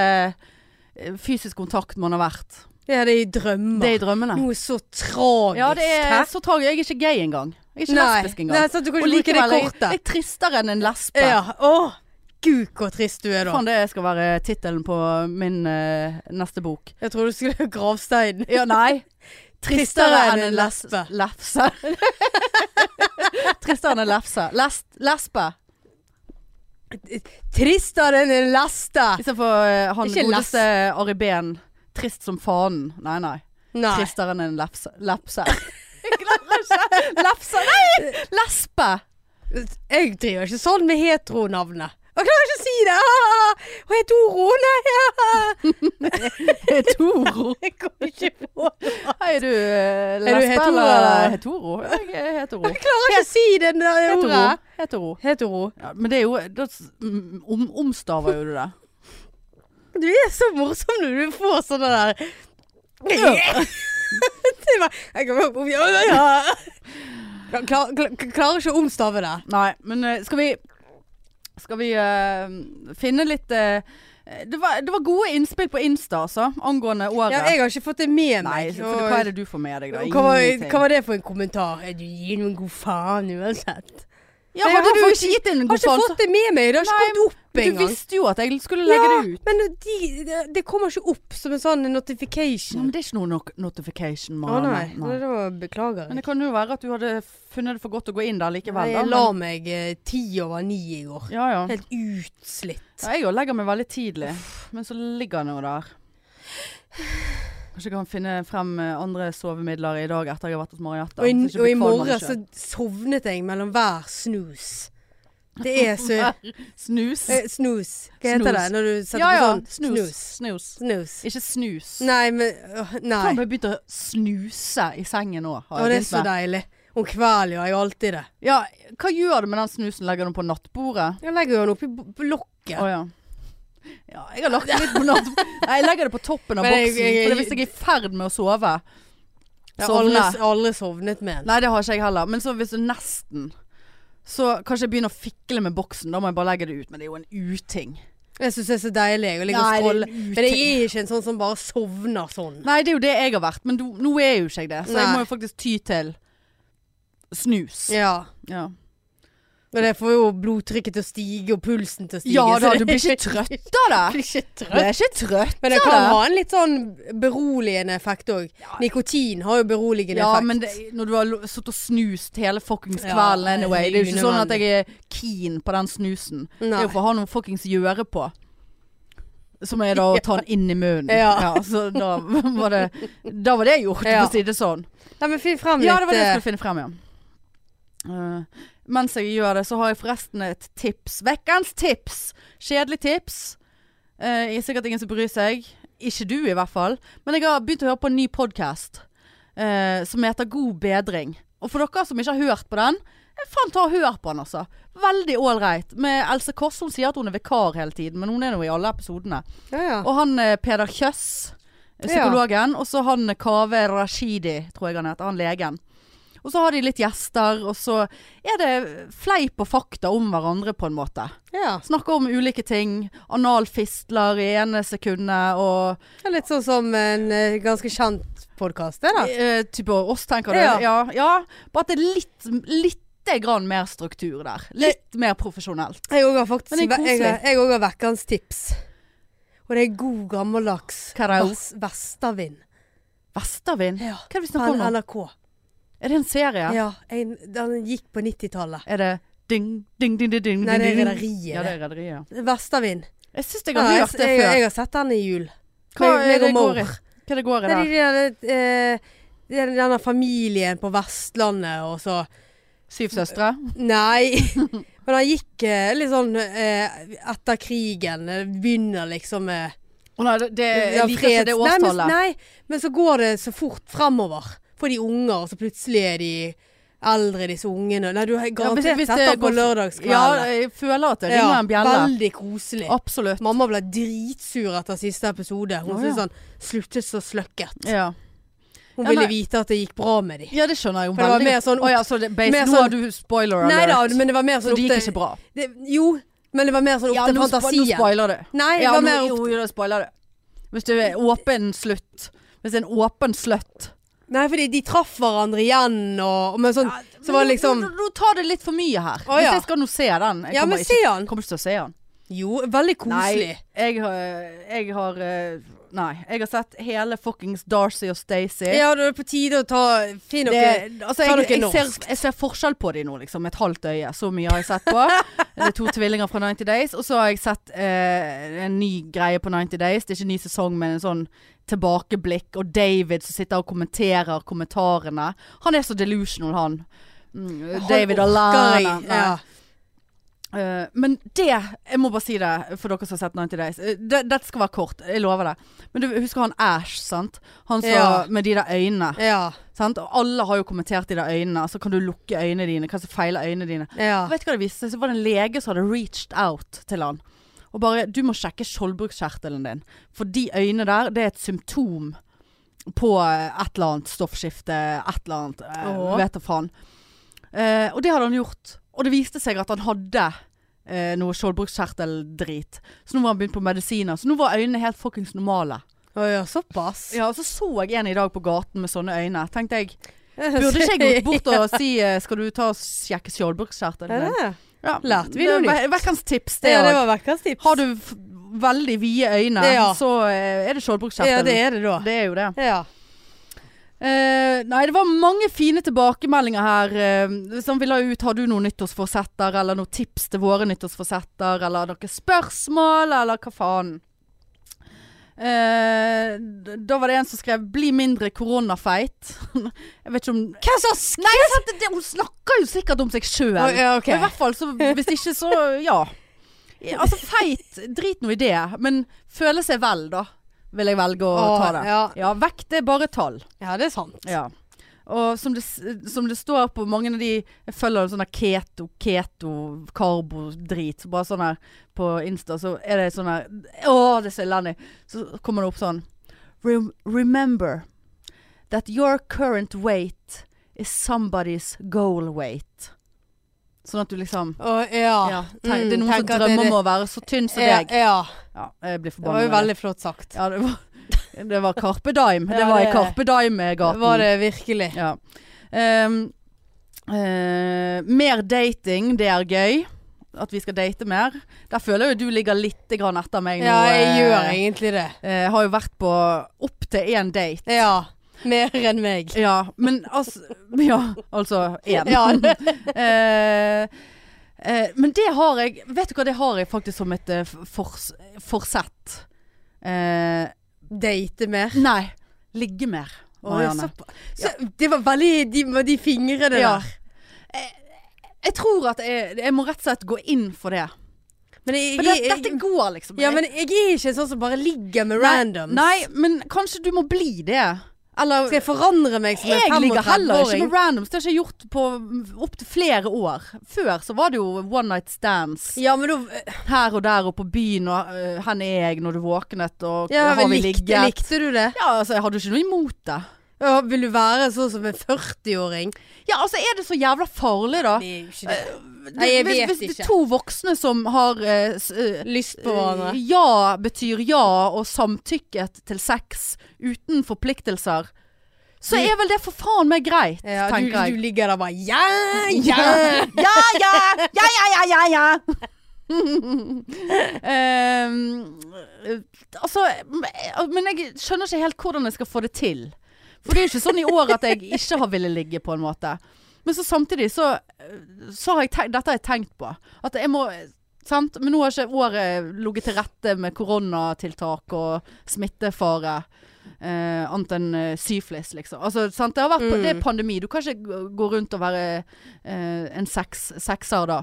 eh, fysisk kontakt man har vært. Ja, det er i drømmer. Det er i drømmene. Noe så tragisk. Ja, det hæ? er så tragisk. Jeg er ikke gay engang. Jeg er ikke Nei, lesbisk Nei, engang. sant, du kan Og ikke bruke det likevel, jeg, jeg kortet. er tristere enn en lesbe. Ja, åh, gud hvor trist du er da. Faen, det skal være tittelen på min eh, neste bok. Jeg trodde du skulle ha gravsteinen. Ja, nei. Tristere enn en lesbe. Lefse. Tristere enn en lefse. Lest, lesbe. Tristere enn en leste. Istedenfor uh, han Ikke godeste Ari Behn. Trist som fanen. Nei, nei. Nei. Tristere enn en lefse. Lepse. Jeg klarer ikke. Lefse. Nei! Lesbe. Jeg driver ikke sånn med hetronavnet. Jeg klarer ikke å si det. Ah, Og hetoro, nei. ah. Hetoro. Jeg kom ikke på. Hei, er du eh, lesbe Er du hetero, eller eller? hetoro? Jeg er hetero. Jeg klarer ikke å si det det Hetero. ordet. hetero. Hetero. Ja, men det er jo Da s- om, mm, omstaver jo du det. Du er så morsom når du får sånne der Det er bare, jeg kan bare ja, ja, ja. Jeg klar- klar- Klarer ikke å omstave det. Nei, men eh, skal vi Skal vi eh, finne litt eh, det, var, det var gode innspill på Insta, altså, angående året. Ja, jeg har ikke fått det med Nei, meg. for og- hva er det du får med deg, da? hva, var, Ingenting. hva var det for en kommentar? Du gir noen god faen uansett. ja, Nei, hadde jeg har du fått- ikke gitt inn en Har god ikke faen, fått det med meg. Det har ikke Nei, kommet opp så Du engang. visste jo at jeg skulle legge Ja, det ut. men de, det, det kommer ikke opp som en sånn Ja, men notification. det er ikke noe nok notification, Å Marianne. nei. Nei. Da beklager Men jeg. det kan jo være at du hadde funnet det for godt å gå inn der likevel. Jeg da, la meg eh, ti over ni i går. men, ja, ja. Helt utslitt. Ja, jeg òg legger meg veldig tidlig, men så ligger han jo der. Kanskje jeg kan finne frem eh, andre sovemidler i dag etter jeg har vært hos Marietta. Og i, så ikke og i blir kvalm av det morgen så selv. sovnet jeg mellom hver snus. Det er så Snus. eh, Snus. Hva heter Snus. det når du setter Ja, ja. på sånn? Snus. snus. Snus. Ikke snus. Nei, men åh, Nei. Faen, jeg begynte å snuse i sengen nå. har jeg Å, det er begynt så med. deilig. Om kvelden gjør jeg alltid det. Ja, hva gjør du med den snusen? Legger du den på nattbordet? Jeg legger jo den oppi b- b- Å lokket. ja. Ja, jeg har lagt det litt på nattbordet. Nei, jeg legger det på toppen av Men jeg- boksen. jeg- for det hvis jeg er i ferd med å sove Jeg har Sovne. aldri, aldri sovnet med den. Nei, det har ikke jeg heller. Men så hvis du nesten Så kanskje jeg begynner å fikle med boksen. Da må jeg bare legge det ut. Men det er jo en uting. Jeg syns det er så deilig jeg, å ligge Nei, det og er scrolle. en Men jeg uting. er ikke en sånn som bare sovner sånn. Nei, det er jo det jeg har vært. Men du, nå er jo ikke jeg det. Så jeg Nei. må jo faktisk ty til snus. Ja. Ja, Men jeg får jo blodtrykket til å stige og pulsen til å stige. ja så da, det- du blir ikke trøtt av Jeg det. blir ikke Du trøtt. er ikke trøtt Men det av kan det. ha en litt sånn beroligende effekt òg. Nikotin har jo beroligende Ja, effekt. men det, når du har lo- sittet og snust hele fuckings Ja, kvelden anyway. Det er jo ikke sånn at unødvendig. jeg er keen på den snusen. Det Nei. er jo for å ha noe fuckings gjøre på. Som er da å ta den inn i munnen. Ja. så da var det Da var det gjort, Ja. for å si det sånn. Nei, men finn frem litt Ja, det var det jeg eh, skulle finne frem, ja. Eh, mens jeg gjør det, så har jeg forresten et tips. Vekkens tips! Kjedelig tips. Eh, jeg er sikkert ingen som bryr seg. Ikke du, i hvert fall. Men jeg har begynt å høre på en ny podkast som heter God bedring. Og for dere som ikke har hørt på den, eh, faen ta og hør på den, altså. Veldig ålreit. Med Else Kåss, hun sier at hun er vikar hele tiden, men hun er nå i alle episodene. ja, ja. Og han eh, Peder Kjøss, eh, psykologen, og så han eh, Kaveh Rashidi, tror jeg han heter, han legen. Og så har de litt gjester, og så er det fleip og fakta om hverandre, på en måte. ja. Snakker om ulike ting. Analfistler i ene sekundet, og Det er litt sånn som en eh, ganske kjent podkast, det da. eh, type oss, tenker du? Ja. Ja. ja. Bare at det er litt, lite grann mer struktur der. Litt mer profesjonelt. Jeg òg har faktisk Men det er jeg, koselig. jeg også har vekkens tips. Og det er god gammeldags Karao. vest, Vestavind. Vestervind? Ja. Hva er det vi På snakker om nå? NRK. Er det en serie? Ja, en, den gikk på 90-tallet. Er det ding, ding, ding, ding, ding Nei, det er ding? Rederiet, Ja, det det. er rederiet. ja. Vestavind. Jeg syns jeg Ja, har jeg, hørt det jeg, før. jeg har sett den i jul. Hva Meg- er meg det og mor. går i? Hva er det går i Det er der? de der eh, det er denne familien på Vestlandet og så Syv søstre? Nei. Men han gikk eh, litt sånn eh, etter krigen. eh, Begynner liksom med Å nei, det, det, Ja, Eh, jeg liker ikke det freds- årstallet. Nei men, nei, men så går det så fort fremover. Får de unger, og så plutselig er de eldre, disse ungene. Nei, du har garantert hvis- hvis sett det den på går- Ja, lørdagskvelden. jeg føler at det ringer en bjelle. veldig koselig. Absolutt. Mamma ble dritsur etter siste episode. Hun Å, syntes ja. han sluttet så sløkket. Ja. Hun Ja, nei. ville vite at det gikk bra med de. ja, det skjønner jeg jo For det var veldig mer godt. sånn opp- Å ja, så det, base, mer Nå har sånn- du spoiler alert. Nei da, men det var så mer sånn det opp gikk til ikke bra. det, Jo, men det var mer sånn opp Ja, til nå, spo- nå fantasien. spoiler du. Nei, det Ja, var nå, mer jo, opp jo, da spoiler du. Hvis du er åpen slutt. Hvis det er en åpen slutt. Nei, fordi de traff hverandre igjen, og, og men sånn Så var det liksom Nå tar det litt for mye her. Å, ja. Hvis jeg skal nå se den Jeg Ja, kommer men ikke, se han. kommer ikke til å se den. Jo, veldig Nei, koselig. jeg har, jeg har eh, Nei, jeg har sett hele fuckings Darcy og Stacey. Ja, det er på tide å ta Finn Det, dere altså, ta jeg, dere jeg, ser, norskt. jeg ser forskjell på de nå, liksom. Et halvt øye. Så mye har jeg sett på. Det er to tvillinger fra 90 Days. Og så har jeg sett eh, en ny greie på 90 Days. Det er ikke en ny sesong, men en sånn tilbakeblikk. Og David som sitter og kommenterer kommentarene. Han er så delusional, han. Mm, David Han orker alene. jeg. Nei. Ja. Eh, men det Jeg må bare si det for dere som har sett 90 Days. Eh, det, dette skal være kort, jeg lover det. Men du husker han Ash, sant? Han som Ja. med de der øynene. Ja. Sant? Og alle har jo kommentert de der øynene. Så kan du lukke øynene dine. Hva som feiler øynene dine. ja. Vet du hva det viste seg? Så var det en lege som hadde reached out til han. og bare Du må sjekke skjoldbruskkjertelen din. For de øynene der, det er et symptom på eh, et eller annet stoffskifte, et eller annet. eh, Åh. Vet da faen. Eh, og det hadde han gjort. Og det viste seg at han hadde eh, noe skjoldbruskkjerteldrit. Så nå var han begynt på medisiner. Så nå var øynene helt fuckings normale. Å ja, såpass. Ja, og så så jeg en i dag på gaten med sånne øyne. Tenkte jeg Burde ikke jeg gått bort og si eh, Skal du ta og sjekke skjoldbruskkjertelen Ja, din? det er. Ja, lærte vi noe det er nytt. ve- Vekkens tips, det Ja, det òg. var vekkers tips. Har du f veldig vide øyne, Ja. så eh, er det skjoldbruskkjertelen. Ja, det er det da. Det er jo det. Ja. Eh, nei, det var mange fine tilbakemeldinger her. eh, som ville ut Har du noen nyttårsforsetter, eller noen tips til våre nyttårsforsetter, eller noen spørsmål, eller hva faen? Eh, d- da var det en som skrev 'bli mindre koronafeit'. Jeg vet ikke om Hva så sk... Nei, sant, det, det- hun snakker jo sikkert om seg sjøl. Å, ja, ok. Og I hvert fall så Hvis ikke, så ja. Altså feit, drit nå i det. Men føle seg vel, da. Vil jeg velge å Å, ta det. ja. Vekt er bare tall. Ja, det er sant. Ja. Og som det, s- som det står på mange av de Jeg følger sånn der keto, keto, karbo-drit. Bare sånn her på Insta, så er det sånn her Å, det er så elendig. Så kommer det opp sånn Rem Remember that your current weight is somebody's goal weight. Sånn at du liksom Å ja. ja, tenk, Mm, Det er noen som tenk at det drømmer er om å være så tynn som ja, deg. Ja. Ja, jeg blir Det var forbanna. jo veldig flott sagt. Ja, det var, det var Carpe Dime. Det Ja, var i det- Carpe Dime-gaten. Var det virkelig? Ja. Ehm, eh, mer dating, det er gøy. At vi skal date mer. Der føler jeg jo du ligger litt grann etter meg Ja, nå. jeg eh, gjør egentlig det. eh, har jo vært på opptil én date. Ja. Mer enn meg. Ja, men altså Ja, altså én. Ja, det, Eh, eh, men det har jeg Vet du hva, det har jeg faktisk som et eh, fors, forsett. Eh, date mer. nei, ligge mer. Å, ja, Marianne. såpass. så, det var veldig De, de fingrene Ja. der. jeg tror at jeg, jeg må rett og slett gå inn for det. Men jeg, Men det, jeg, dette går liksom. ja, men jeg er ikke sånn som bare ligger med Nei, randoms. Nei, men kanskje du må bli det. Eller Skal jeg forandre meg som en jeg ligger heller ikke 35-åring? med randoms. Det har jeg ikke gjort på opptil flere år. Før så var det jo one night stands. Ja, men da her og der og på byen og øh, hen er jeg når du våknet og ja, har men vi likte, ligget. likte du det? Ja, altså jeg hadde jo ikke noe imot det. Ja, vil du være sånn som en 40-åring? Ja, altså er det så jævla farlig da? Det er jo ikke det. Det- Nei, jeg hvis, vet hvis det ikke. er to voksne som har eh, s- eh, Lyst på hverandre. Ja betyr ja og samtykket til sex uten forpliktelser, så Du- er vel det for faen meg greit, Eh, Ja, du, tenker jeg. du ligger der bare Ja, ja! Ja, ja, ja, ja, ja, ja, ja, ja. Ehm, eh, altså, men jeg skjønner ikke helt hvordan jeg skal få det til. For det er jo ikke sånn i år at jeg ikke har villet ligge på en måte. Men så samtidig så, så har jeg tenkt, dette har jeg tenkt på. At jeg må, sant? Men nå har ikke året ligget til rette med koronatiltak og smittefare. Eh, annet enn eh, syflis, liksom. Altså, sant? Det, har vært, Mm. det er pandemi. Du kan ikke gå- gå rundt og være eh, en seks, sekser da.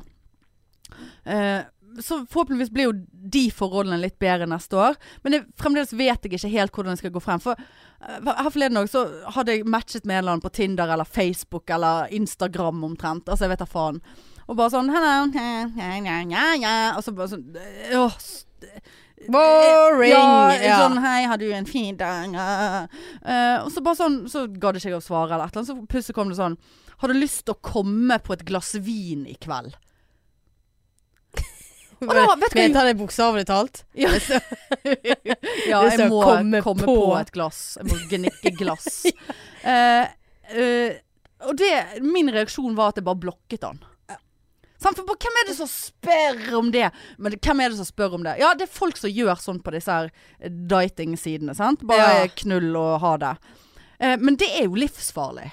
Eh, så forhåpentligvis blir jo de forholdene litt bedre neste år. Men jeg, fremdeles vet jeg ikke helt hvordan jeg skal gå frem. For eh, her forleden dag så hadde jeg matchet med en eller annen på Tinder eller Facebook eller Instagram omtrent. Altså jeg vet da faen. Og bare sånn hello, eh, ja, ja, ja, ja. Og så bare sånn eh, Åh, s- Boring! ja, Ja. sånn hei, har du en fin dag? Ah. Eh, og så bare sånn, så gadd ikke jeg å svare eller et eller annet. Så plutselig kom det sånn, har du lyst til å komme på et glass vin i kveld? Og da, vet du hva jeg Mente han det bokstavelig talt? Ja. ja, Hvis jeg jeg må komme, kommer på. på. et glass. Jeg må gnikke glass. Eh, eh, og det, min reaksjon var at jeg bare blokket han. Sant? for bare, hvem er det som spør om det? Men det- hvem er det som spør om det? Ja, det er folk som gjør sånn på disse her datingsidene. sant? Bare Ja. knull og ha det. Eh, men det er jo livsfarlig.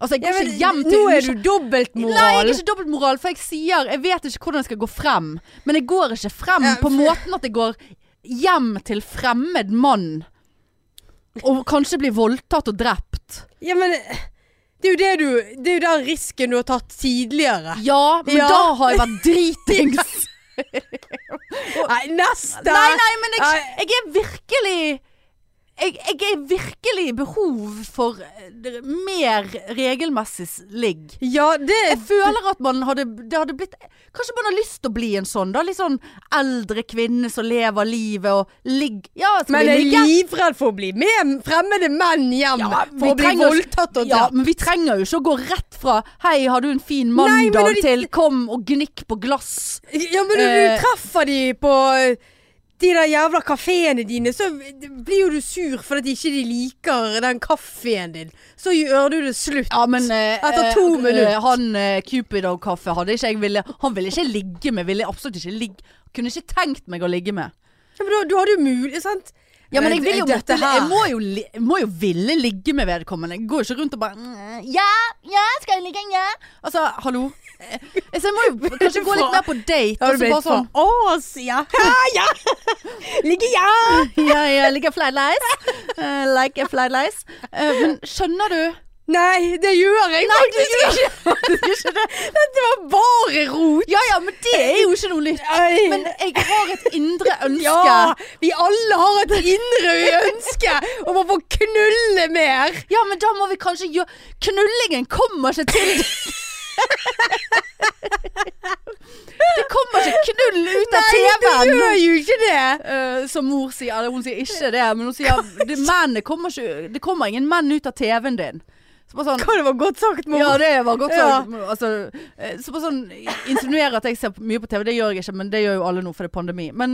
Altså, jeg går Ja, men ikke hjem til nå er USA- du dobbeltmoral! Nei, jeg er ikke dobbeltmoral, for jeg sier Jeg vet ikke hvordan jeg skal gå frem. Men jeg går ikke frem Ja, på for- måten at jeg går hjem til fremmed mann. Og kanskje blir voldtatt og drept. Ja, men det er jo det du Det er jo den risken du har tatt tidligere. Ja, men Ja. da har jeg vært dritings. Nei, neste! Nei, nei, men jeg, Nei. jeg er virkelig jeg, jeg er virkelig i behov for eh, mer regelmessig s- ligg. Ja, det Jeg føler at man hadde, det hadde blitt Kanskje man har lyst til å bli en sånn, da. Litt sånn eldre kvinne som lever livet og ligg... Ja, skal Men vi jeg er ligge? livredd for å bli med fremmede menn hjem. Ja, vi for å bli trenger- voldtatt og Ja, drept. men vi trenger jo ikke å gå rett fra 'hei, har du en fin Nei, men mandag' når de- til 'kom og gnikk på glass'. Ja, men når Eh. du treffer de på eh, de der jævla kafeene dine, så blir jo du sur fordi de ikke liker den kaffen din. Så gjør du det slutt. Ja, men eh, Etter eh, to minutter. eh, Han eh, Cupid og kaffe hadde ikke jeg ville Han ville ikke ligge med. Ville absolutt ikke ligge Kunne ikke tenkt meg å ligge med. Ja, men da, du hadde jo mulig, sant? Ja, men jeg, vil jo Eh, Dette måtte, jeg, her. må jo, li- jeg må jo ville ligge med vedkommende. Jeg går jo ikke rundt og bare mm, Ja, ja, skal jeg ligge? Ja. Altså, hallo. Eh, Så jeg må jo kanskje gå litt mer på date. Da og så hadde bare du blitt sånn sånn Å, ja. ja. Ligger ja. Ja, jeg liker flight lice. Eh, like a flight lice. Eh, men skjønner du? Nei, det gjør jeg faktisk ikke. Dette var bare rot. Ja ja, men det er jo ikke noe nytt. Nei. Men jeg har et indre ønske. Ja, vi alle har et indre ønske om å få knulle mer. Ja, men da må vi kanskje gjøre Knullingen kommer ikke til Det kommer ikke knull ut av du TV-en. gjør jo ikke det. Eh, som mor sier, eller hun sier ikke det, men hun sier det, mennene kommer ikke, det kommer ingen menn ut av TV-en din. Så bare sånn Hva det var godt sagt, mor. Ja, det var godt Ja. sagt. Altså, eh, så bare sånn insinuerer at jeg ser mye på TV. Det gjør jeg ikke, men det gjør jo alle nå, for det er pandemi. Men,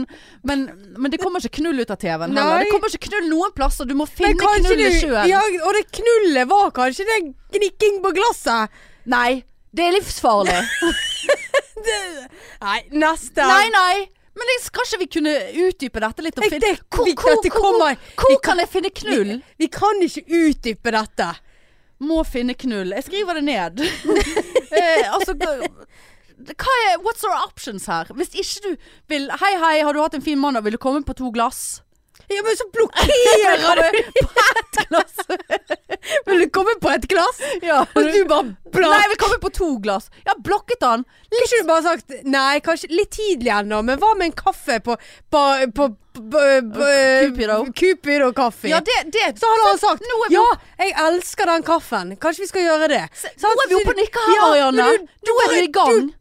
men, men det kommer ikke knull ut av TV-en heller. Nei. Det kommer ikke knull noen plasser. Du må Men finne kanskje knullet du- sjøl. Ja, og det knullet var kanskje det gnikking på glasset. Nei, det er livsfarlig. Nei, neste. nei, nei. Men jeg skal ikke vi kunne utdype dette litt? Og Jeg- finne, det- hvor vi- hvor, dette hvor, kommer- hvor, hvor vi kan jeg finne knull? Vi, vi kan ikke utdype dette. Må finne knull. Jeg skriver det ned. eh, altså, hva hva er What's our options her? Hvis ikke du vil Hei, hei, har du hatt en fin mandag? Vil du komme på to glass? Ja, men så blokkerer du. glass? Vil du komme på et glass? ja. Og du bare Nei, blokk. vi kommer på to glass. Ja, blokket han. Kunne ikke du bare sagt Nei, kanskje litt tidlig ennå, men hva med en kaffe på, på, på, på, på Cupido. Cupido kaffe. Ja, det, det så hadde han sagt Nå er vi Ja, jeg elsker den kaffen. Kanskje vi skal gjøre det. Nå er vi oppe og nikker her, Ja, Marianne. men du- Nå er bare- vi i gang. Du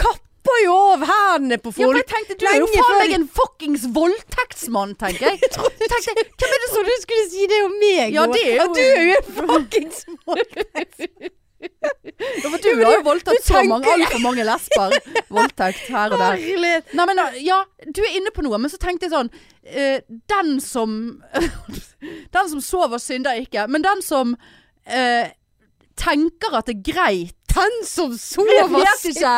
kapper jo av hendene på Ja, for folk. jeg tenkte du er jo lenge faen før meg de- en fuckings voldtektsmann, tenker jeg. tenkte, hvem er det Jeg trodde du skulle si det om meg. Ja, nå. det er jo- At du er jo en fuckings som Du har jo voldtatt du så mange, tenker- altfor mange lesber. Voldtekt her og der. herlighet. Nei, men eh, ja, du er inne på noe, men så tenkte jeg sånn eh, Den som Den som sover, synder ikke. Men den som eh, tenker at det er greit Den som Jeg sover vet ikke.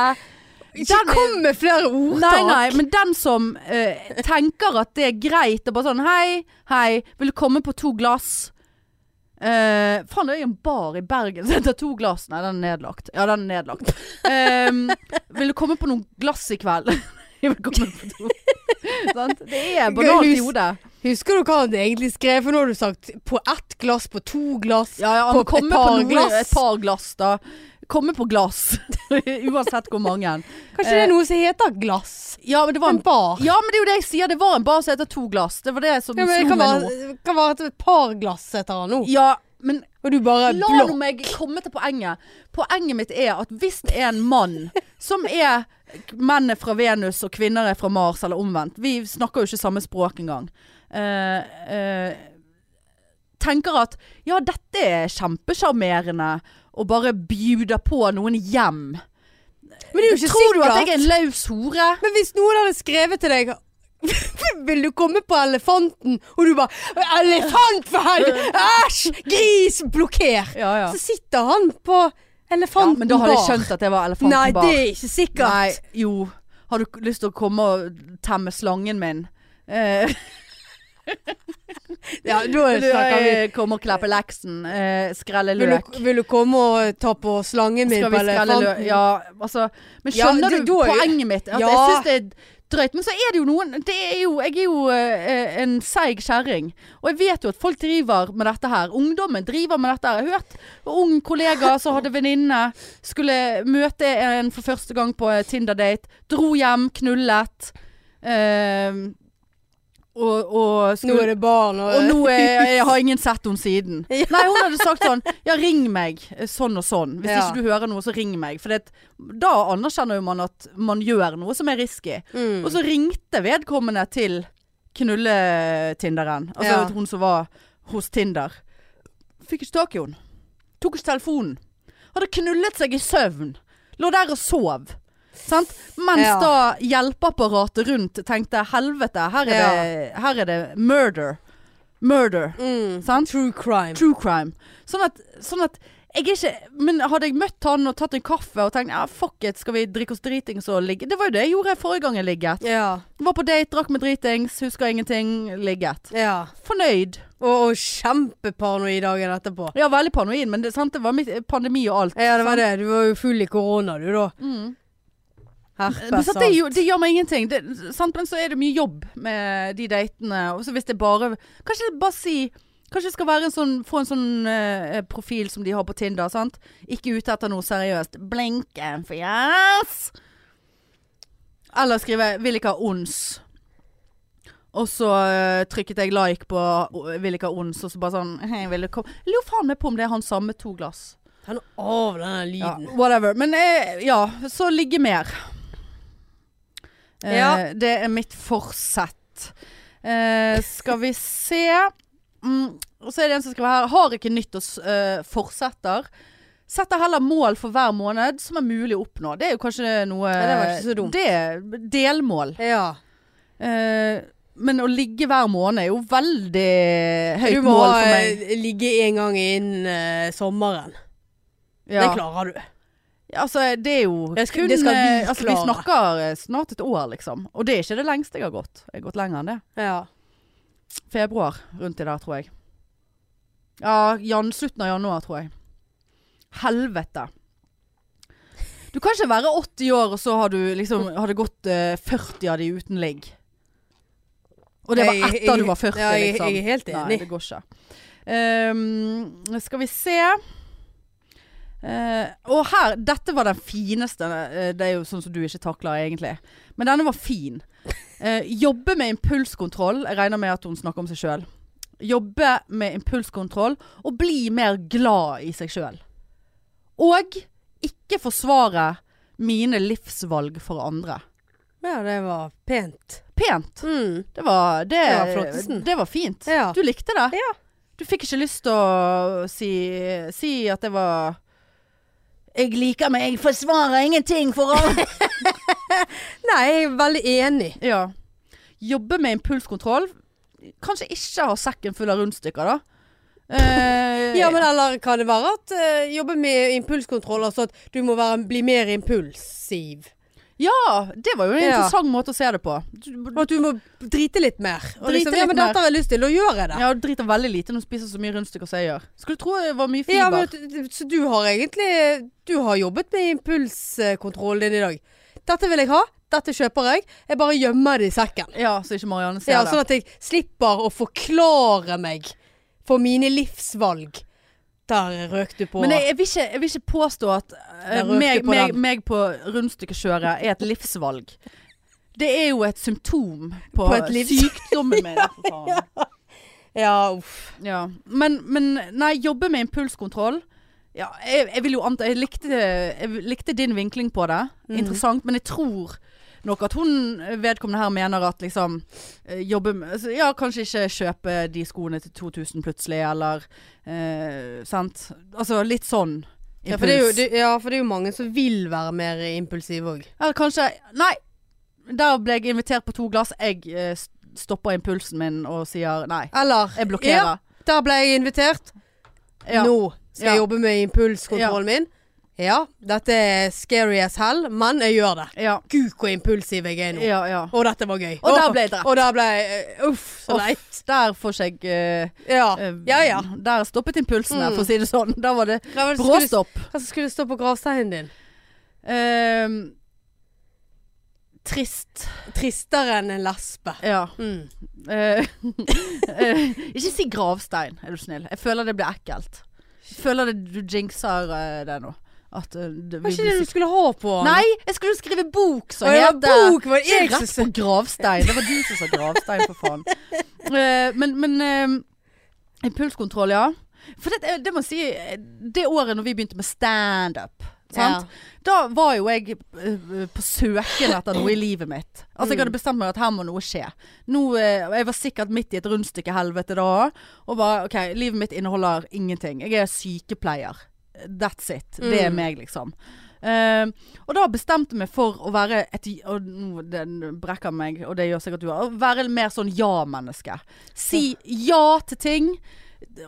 Ikke Den er- kom med flere ordtak. Nei, nei, men den som eh, tenker at det er greit og bare sånn Hei, hei, vil du komme på to glass? Eh, Faen, det er jo en bar i Bergen som heter To glass. Nei, den er nedlagt. Ja, den er nedlagt. Ehm, vil du komme på noen glass i kveld? Jeg vil komme på to. Sant? Det er banalt i hodet. Husker du hva han egentlig skrev? For nå har du sagt på ett glass, på to glass. Ja, ja, men På et komme på par noe, glass. et par glass, da. Komme på glass. Uansett hvor mange. Kanskje det er noe som heter glass? Ja, men det var En en bar. Eh. Ja, men det er jo det jeg sier. Det var en bar som heter To glass. Det var det som Ja, men det slo kan meg nå. være, kan være et- et par glass etter han nå. Ja, men Og du bare la nå blå. meg komme til poenget. Poenget mitt er at hvis det er en mann som er Menn er fra Venus og kvinner er fra Mars, eller omvendt. Vi snakker jo ikke samme språk engang. Eh, eh, tenker at ja, dette er kjempesjarmerende, og bare bjuder på noen hjem. Men det er jo ikke Tror du at sikkert. jeg er en løs hore? Men hvis noen hadde skrevet til deg Vil du komme på elefanten? Og du bare Elefant for helvete! Æsj! Gris! Blokkert! Ja, ja. Så sitter han på elefanten men da hadde jeg bar. skjønt at det var elefanten Nei, bar. det er ikke sikkert. Nei, jo. Har du lyst til å komme og temme slangen min? Eh, Ja, da du, snakker vi eh, Komme og klappe leksen. Eh, skrelle vil løk. du, vil du komme og ta på slangen min Skal på vi skrelle elefanten? løk? Ja, altså. Men Ja, skjønner du det- da er jo- poenget mitt? At Ja. Jeg syns det er drøyt. Men så er det jo noen det er jo, Jeg er jo eh, en seig kjerring. Og jeg vet jo at folk driver med dette her. Ungdommen driver med dette her. Jeg har hørt ung kollega som hadde venninne, skulle møte en for første gang på eh, Tinder-date. Dro hjem, knullet. Eh, Og, og, Nå eh. skulle, er det barn og, og nå er, jeg har ingen sett henne siden. Nei, hun hadde sagt sånn Ja, ring meg eh, sånn og sånn. Hvis Ja. ikke du hører noe, så ring meg. For det, da anerkjenner jo man at man gjør noe som er risky. mm. Og så ringte vedkommende til knulletinderen. Altså Ja. hun som var hos Tinder. Fikk ikke tak i henne. Tok ikke telefonen. Hadde knullet seg i søvn. Lå der og sov. Sant? Mens Ja. da hjelpeapparatet rundt tenkte helvete, her er, det, her er det murder. Murder. Mm. Sant? True crime. True crime. Sånn at, sånn at jeg er ikke, men hadde jeg møtt han og tatt en kaffe og tenkt ja, fuck it, skal vi drikke oss dritings og ligge Det var jo det jeg gjorde forrige gang jeg ligget. Ja. Var på date, drakk meg dritings, husker ingenting, ligget. ja. Fornøyd. Og, og kjempeparanoid dagen etterpå. Ja, veldig paranoid, men det, sant? det var mitt pandemi og alt. Ja, det var sant? det. Du var jo full i korona, du da. Mm. Men Herpes altså. sant, det, er jo- det gjør meg ingenting. Det, sant? Men så er det mye jobb med de datene. Og så hvis det bare Kanskje bare si Kanskje det skal være en sånn, få en sånn eh, profil som de har på Tinder. Sant? Ikke ute etter noe seriøst. Blink and yes! Eller skrive 'Vil ikke ha ons'. Og så eh, trykket jeg like på eh, 'Vil ikke ha ons', og så bare sånn hei, vil du komme? Jeg lurer faen meg på om det er han samme to glass. Han av denne Ja, lyden. whatever. Men eh, ja, så ligge mer. Eh, Ja. Det er mitt forsett. Eh, skal vi se mm, Og så er det en som skriver her Har ikke nyttårsforsetter. Setter heller mål for hver måned som er mulig å oppnå. Det er jo kanskje noe Ja, det var ikke så dumt. Det er delmål. Ja. Eh, men å ligge hver måned er jo veldig høyt Du må mål for meg. eh, ligge en gang innen eh, sommeren. Det Ja. klarer du. Altså, det er jo Det skal- kun det skal vi eh, altså, Vi klare. snakker eh, snart et år, liksom. Og det er ikke det lengste jeg har gått. Jeg har gått lenger enn det. Ja. Februar rundt i der, tror jeg. Ja, jan, slutten av januar, tror jeg. Helvete. Du kan ikke være 80 år, og så har, du liksom, har det gått eh, 40 av de uten ligg. Og det var Jeg- etter du jeg- var 40, ja, jeg- liksom. Jeg er helt Nei, enig. det går ikke. Ehm, skal vi se. Eh, og her Dette var den fineste. eh, det er jo sånn som du ikke takler, egentlig. Men denne var fin. Eh, jobbe med impulskontroll. Jeg regner med at hun snakker om seg sjøl. Jobbe med impulskontroll og bli mer glad i seg sjøl. Og ikke forsvare mine livsvalg for andre. ja, det var pent. Pent. Mm. Det var, det, Det var flottesen. det var fint. Ja. Du likte det. Ja. Du fikk ikke lyst til å si, si at det var Jeg liker meg, jeg forsvarer ingenting for alle. Nei, jeg er veldig enig. ja. Jobbe med impulskontroll. Kanskje ikke ha sekken full av rundstykker, da. Eh, Ja, men eller kan det være at eh, jobbe med impulskontroll, altså at du må være, bli mer impulsiv? ja, det var jo en Ja. interessant måte å se det på. Og at du må drite litt mer. Og Drite liksom, ja, litt men mer. dette har jeg lyst til, og gjør jeg det? Ja, du driter veldig lite når du spiser så mye rundstykker som jeg gjør. Skulle tro det var mye fiber. Ja, men, at- så du har egentlig Du har jobbet med impulskontrollen din i dag. Dette vil jeg ha, dette kjøper jeg. Jeg bare gjemmer det i sekken. ja, så ikke Marianne ser Ja, det. sånn at jeg slipper å forklare meg for mine livsvalg. Der røk du på. Men jeg, jeg, vil ikke, jeg vil ikke påstå at eh, Der røk du meg, på meg, den. meg på rundstykkekjøret er et livsvalg. Det er jo et symptom på, På et livs- sykdommen min. for faen. ja, uff. ja. men, men nei, jobbe med impulskontroll ja, jeg, jeg vil jo anta Jeg likte, jeg likte din vinkling på det. Mhm. Interessant. Men jeg tror nok at hun vedkommende her mener at liksom eh, jobbe med altså, Ja, kanskje ikke kjøpe de skoene til 2000 plutselig, eller eh, Sant. Altså litt sånn impuls. Ja for, det er jo, det, ja, for det er jo mange som vil være mer impulsive òg. Eller kanskje Nei! Der ble jeg invitert på to glass. Jeg eh, st- stopper impulsen min og sier nei. Eller Jeg blokkerer. Ja, der ble jeg invitert. Ja. Nå skal Ja. jeg jobbe med impulskontrollen min. Ja, dette er scary as hell, men jeg gjør det. Ja. Gud, hvor impulsiv jeg er nå. ja, ja. Og dette var gøy. Og der ble jeg drept. Og der ble jeg eh, Uff, så Uff, leit. der får ikke jeg eh, Ja. eh, ja, ja. Der stoppet impulsene, Mm. for å si det sånn. Da var det Hva var det som skulle, bråstopp. hva som skulle stå på gravsteinen din? Ehm, trist. Tristere enn en lesbe. Ja. Mm. Eh, eh, ikke si gravstein, er du snill. Jeg føler det blir ekkelt. Jeg føler det, du jinxer eh, det nå. At eh, det, Var vi ikke blir det du sikre- skulle ha på? Nei, jeg skulle jo skrive bok som Å, ja, heter bok var det jeg Ikke rett på som- gravstein. Det var du som sa gravstein, for faen. Eh, men men eh, impulskontroll, ja. For det, eh, det må jeg si, eh, det året når vi begynte med standup, sant. Da var jo jeg eh, på søken etter noe i livet mitt. Altså Jeg hadde bestemt meg at her må noe skje. Nå, eh, jeg var sikkert midt i et rundstykke helvete da. Og bare OK, livet mitt inneholder ingenting. Jeg er sykepleier. That's it. Det er Mm. meg, liksom. Eh, og da bestemte jeg meg for å være et Og nå den brekker meg, og det gjør sikkert du òg. Å være mer sånn ja-menneske. Si ja til ting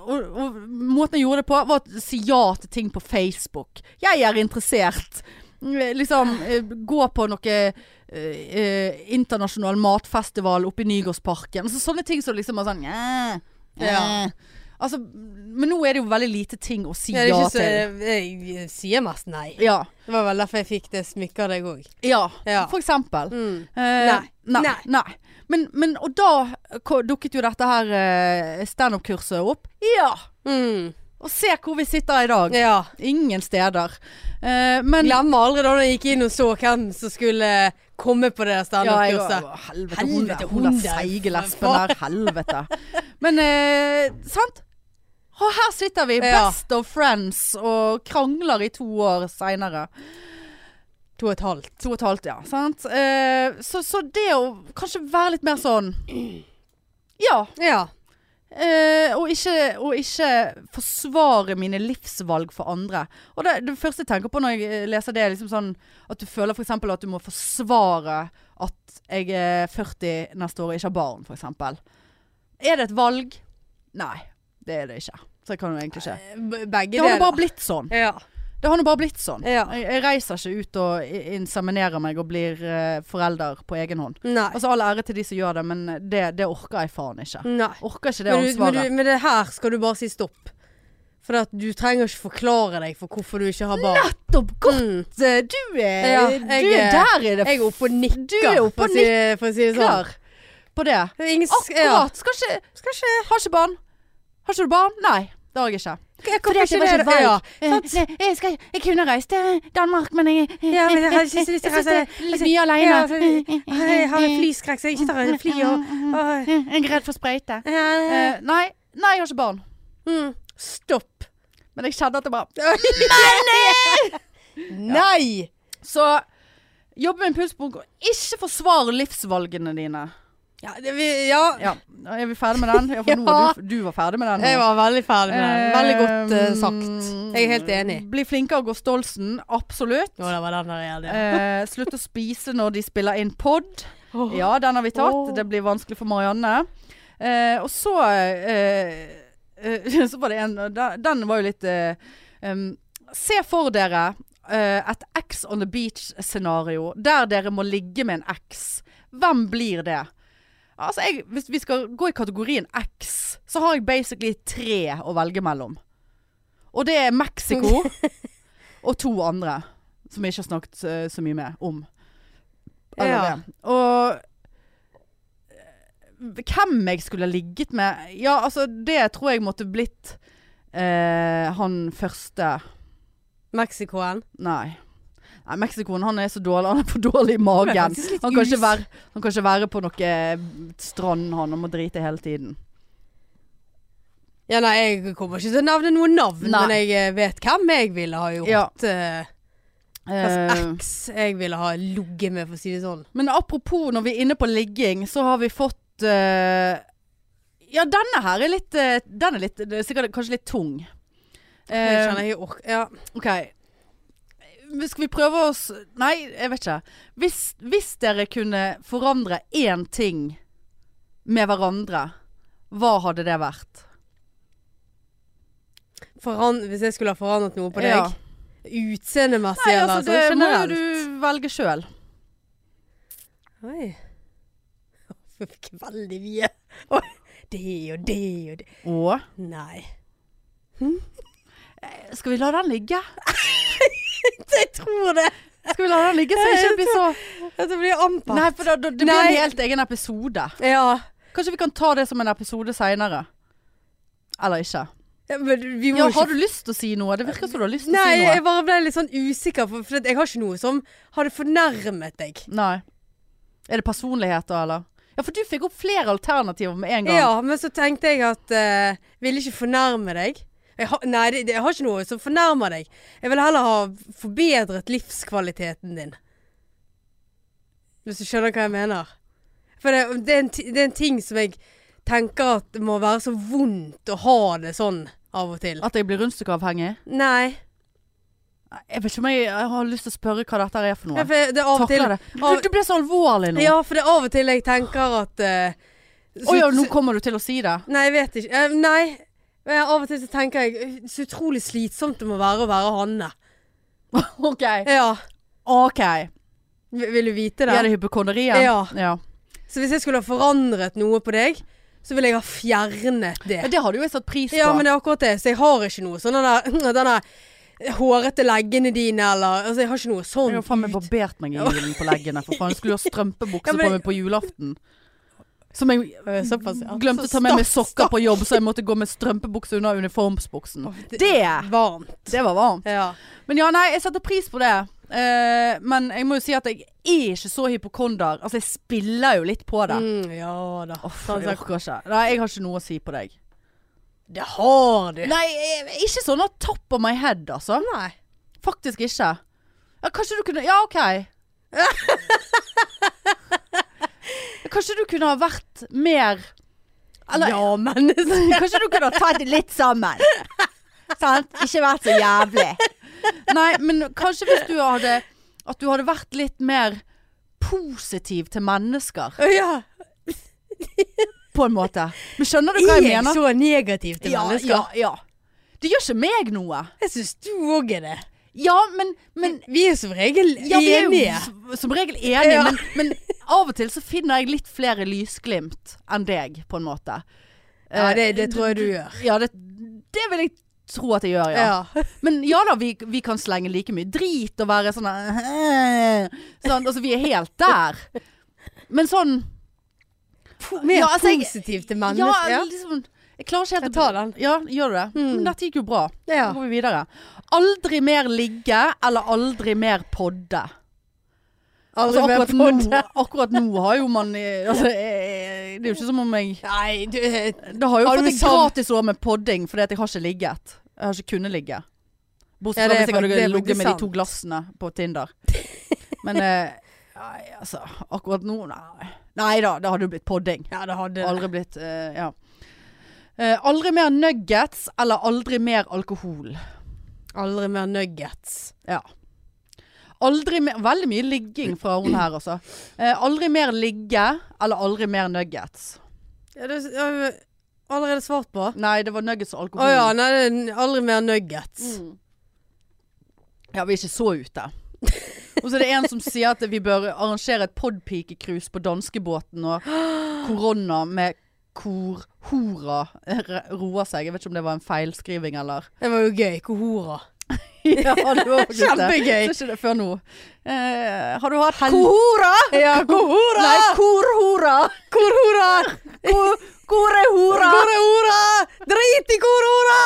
og, og måten jeg gjorde det på, var å si ja til ting på Facebook. Jeg er interessert. Mm, Liksom eh, gå på noe eh, eh, internasjonal matfestival oppe i Nygårdsparken. Altså, sånne ting som liksom er sånn eh, eh. Ja. Altså, Men nå er det jo veldig lite ting å si ja, Ja, det er ikke så, til. jeg, jeg sier mest nei. Ja. Det var vel derfor jeg fikk det smykket av deg òg. ja. Ja. For eksempel. Mm. Eh, Nei. Nei. Nei. nei. Men, men Og da ko- dukket jo dette her eh, standup-kurset opp. Ja! Mm. Og se hvor vi sitter i dag. Ja. Ingen steder. Eh, men Glemmer aldri da når jeg gikk inn og så hvem som skulle komme på det der jeg- standup-kurset. å, Helvete, hun Helvete, der, hun der hun der, seige for lesben der. Helvete. Men eh, sant? Og her sitter vi, Ja. best of friends, og krangler i to år seinere. To og et halvt. To og et halvt, ja. Sant? Eh, så, så det å kanskje være litt mer sånn Ja. Ja. Eh, og, ikke, og ikke forsvare mine livsvalg for andre. Og det, det første jeg tenker på når jeg eh, leser det, er liksom sånn at du føler f.eks. at du må forsvare at jeg er 40 neste år og ikke har barn, f.eks. Er det et valg? Nei, det er det ikke. Så det kan jo egentlig ikke. B- Begge Det har nå bare deler. blitt sånn. Ja. Det har nå bare blitt sånn. Ja. Jeg, jeg reiser ikke ut og i- inseminerer meg og blir eh, forelder på egen hånd. Nei. Altså All ære til de som gjør det, men det, det orker jeg faen ikke. Nei. Orker ikke det Mm. Men, du, men, ansvaret. du, men det her skal du bare si stopp. For at du trenger ikke forklare deg for hvorfor du ikke har barn. Nettopp! Godt! Mm. Du er, Ja, du jeg er er- der i det Jeg er oppe og nikker, Du er oppe for, og å si, for å si det sånn. f***er på det. Det er Ingen, s- ja. Akkurat! Skal ikke Skal ikke Har ikke barn. Har ikke du barn? Nei, det har jeg ikke. Jeg kan ikke det var ja. sant? Eh, jeg, kunne reist til Danmark, men jeg Ja, men jeg har ikke så lyst til å jeg synes det er reise- litt mye alene. Ja, altså, Jeg har en flyskrekk, så jeg ikke tar en fly og og- Jeg er redd for sprøyte. Eh, nei, nei, jeg har ikke barn. mm. Stopp. Men jeg kjenner at det bare Nei! Så jobb med impulsbok, og ikke forsvar livsvalgene dine. Ja, det, vi, ja. Ja, Er vi ferdig med den? Ja, for nå Ja. var du, du var ferdig med den. nå. jeg var veldig ferdig med den. Veldig godt eh, Eh, sagt. Jeg er helt enig. Bli flinkere å gå Stolsen, absolutt. Å, det var den der igjen, ja. Eh, slutt å spise når de spiller inn pod. Ja, den har vi tatt. Åh. Det blir vanskelig for Marianne. Eh, og så eh, eh, Så var det en Den den var jo litt eh, em, Se for dere eh, et X on the beach-scenario der dere må ligge med en X. Hvem blir det? Altså, jeg, hvis vi skal gå i kategorien X, så har jeg basically tre å velge mellom. Og det er Mexico og to andre som jeg ikke har snakket eh, så mye med om. Eller Ja. det. Og eh, hvem jeg skulle ha ligget med Ja, altså, det tror jeg måtte blitt eh, han første Mexicoen. Nei. Nei, Mexicoen han er så dårlig. Han er for dårlig i magen. Det er Han faktisk litt kan, ikke us- være, han kan ikke være på noe eh, strand, han. Han må drite hele tiden. Ja, nei, jeg kommer ikke til å nevne noe navn, Nei. men jeg eh, vet hvem jeg ville ha gjort. Ja. eh, Hva Eh, slags eks jeg ville ha ligget med, for å si det sånn. men apropos når vi er inne på ligging, så har vi fått eh, Ja, denne her er litt eh, Den er litt, det er sikkert kanskje litt tung. Jeg Eh, kjenner jeg orker Ja. OK. Skal vi prøve oss Nei, jeg vet ikke. Hvis, hvis dere kunne forandre én ting med hverandre, hva hadde det vært? Foran, hvis jeg skulle ha forandret noe på deg? Ja. Utseendemessig Nei, eller altså, det sånn må jo generelt? du velge sjøl. Oi. Jeg fikk veldig mye. Oi, Det og det og det Og Nei. Skal vi la den ligge? Jeg tror det. Skal vi la den ligge, så det ikke blir så Dette blir ampa. Nei, for da, da, det blir Nei. en helt egen episode. Ja. Kanskje vi kan ta det som en episode seinere. Eller ikke. Ja, men vi må Ja, jo har ikke du lyst til å si noe? Det virker som du har lyst til å Nei, si jeg noe. bare ble litt sånn usikker, for, for at jeg har ikke noe som hadde fornærmet deg. Nei. Er det personligheter, eller? Ja, for du fikk opp flere alternativer med en gang. Ja, men så tenkte jeg at eh, Ville ikke fornærme deg. Jeg har- nei, det, det, jeg har ikke noe som fornærmer deg. Jeg vil heller ha forbedret livskvaliteten din. Hvis du skjønner hva jeg mener. For det, det, er, en, ti- det er en ting som jeg tenker at det må være så vondt å ha det sånn av og til. At jeg blir rundstykkeavhengig? Nei. Nei, Jeg vet ikke om jeg, jeg har lyst til å spørre hva dette er for Ja, noe. for det er av og til Takler det. Du, du ble så alvorlig nå. Ja, for det er av og til jeg tenker at eh, Å ja, nå kommer du til å si det. Nei, jeg vet ikke. Eh, nei. Men av og til så tenker jeg eh, så utrolig slitsomt det må være å være Hanne. OK. Ja. OK. V- Vil du vite det? Er det hypokonderien? Ja. ja. Så hvis jeg skulle ha forandret noe på deg, så ville jeg ha fjernet det. Ja, Det hadde jo jeg satt pris på. Ja, men det er akkurat det. Så jeg har ikke noe sånn den der- den der hårete leggene dine eller Altså, jeg har ikke noe jeg har sånt. faen meg barbert meg i julen på leggene. For faen, jeg skulle jo ha strømpebukse Ja, men- på meg på julaften. Som jeg Eh, Såpass, ja. glemte å Så ta med meg stakkars- sokker på jobb, så jeg måtte gå med strømpebukse under uniformsbuksen. Det! Varmt. Det var varmt. Ja. Men ja, nei, jeg setter pris på det. Eh, men jeg må jo si at jeg er ikke så hypokonder. Altså, jeg spiller jo litt på det. Mm, ja da. Uff, Sånn jeg sagt. orker ikke. Nei, jeg har ikke noe å si på deg. Det har du. Nei, jeg- ikke sånn at top of my head, altså. Nei. Faktisk ikke. Ja, kanskje du kunne Ja, OK. Kanskje du kunne ha vært mer Eller- ja, menneske. Kanskje du kunne ha tatt det litt sammen. Sant? Ikke vært så jævlig. Nei, men kanskje hvis du hadde At du hadde vært litt mer positiv til mennesker, Ja. på en måte. Men skjønner du hva Er jeg jeg mener? så negativ til Ja, mennesker? ja, ja. Det gjør ikke meg noe. Jeg syns du òg er det. Ja, men, men Men vi er som regel Ja, vi er enige. jo s- som regel enige, Ja. men, men av og til så finner jeg litt flere lysglimt enn deg, på en måte. Ja, Eh, det- det tror jeg du d- gjør. Ja, det, det vil jeg tro at jeg gjør, ja. Men ja da, vi, vi kan slenge like mye drit og være sånn eh, sånn, Altså, vi er helt der. Men sånn Po- Mer Ja, altså, jeg- positiv til Ja, mennesker. Ja, liksom Jeg klarer ikke helt Jeg tar den. Ja, gjør du det? Mm. Men dette gikk jo bra. ja. Nå går vi videre. Aldri mer ligge eller aldri mer podde. Aldri Altså, mer akkurat, podd. nå, akkurat nå har jo man eh, altså, eh, Det er jo ikke som om jeg Nei, du eh, Da har jeg jo Har du fått et sam- gratis år med podding fordi at jeg har ikke ligget. Jeg har ikke kunnet ligge. Ja, Bortsett det fra er hvis jeg faktisk- det hadde er ligget med faktisk de to glassene på Tinder. Men eh, nei, altså Akkurat nå, nei. Nei da, det hadde jo blitt podding. Ja, det hadde Aldri blitt eh, Ja. Eh, aldri mer nuggets eller aldri mer alkohol. Aldri mer nuggets. Ja. Aldri mer Veldig mye ligging fra hun her, altså. Eh, aldri mer ligge eller aldri mer nuggets. Ja, det har vi allerede svart på. Å Nei, det var nuggets og alkohol. ja, nei, det er n- aldri mer nuggets. Mm. Ja, vi er ikke så ute. Og så er det en som sier at vi bør arrangere et podpike-cruise på danskebåten og korona med korhora roer seg. Jeg vet ikke om det var en feilskriving eller Det var jo gøy. Kohora. Ja, det var faktisk det. Kjempegøy. Så ikke det før nå. Eh, har du hatt Kohora! Ja, kohora! Nei, korhora! Kohora! Ko- Korehora! Kohora! Drit i kohora!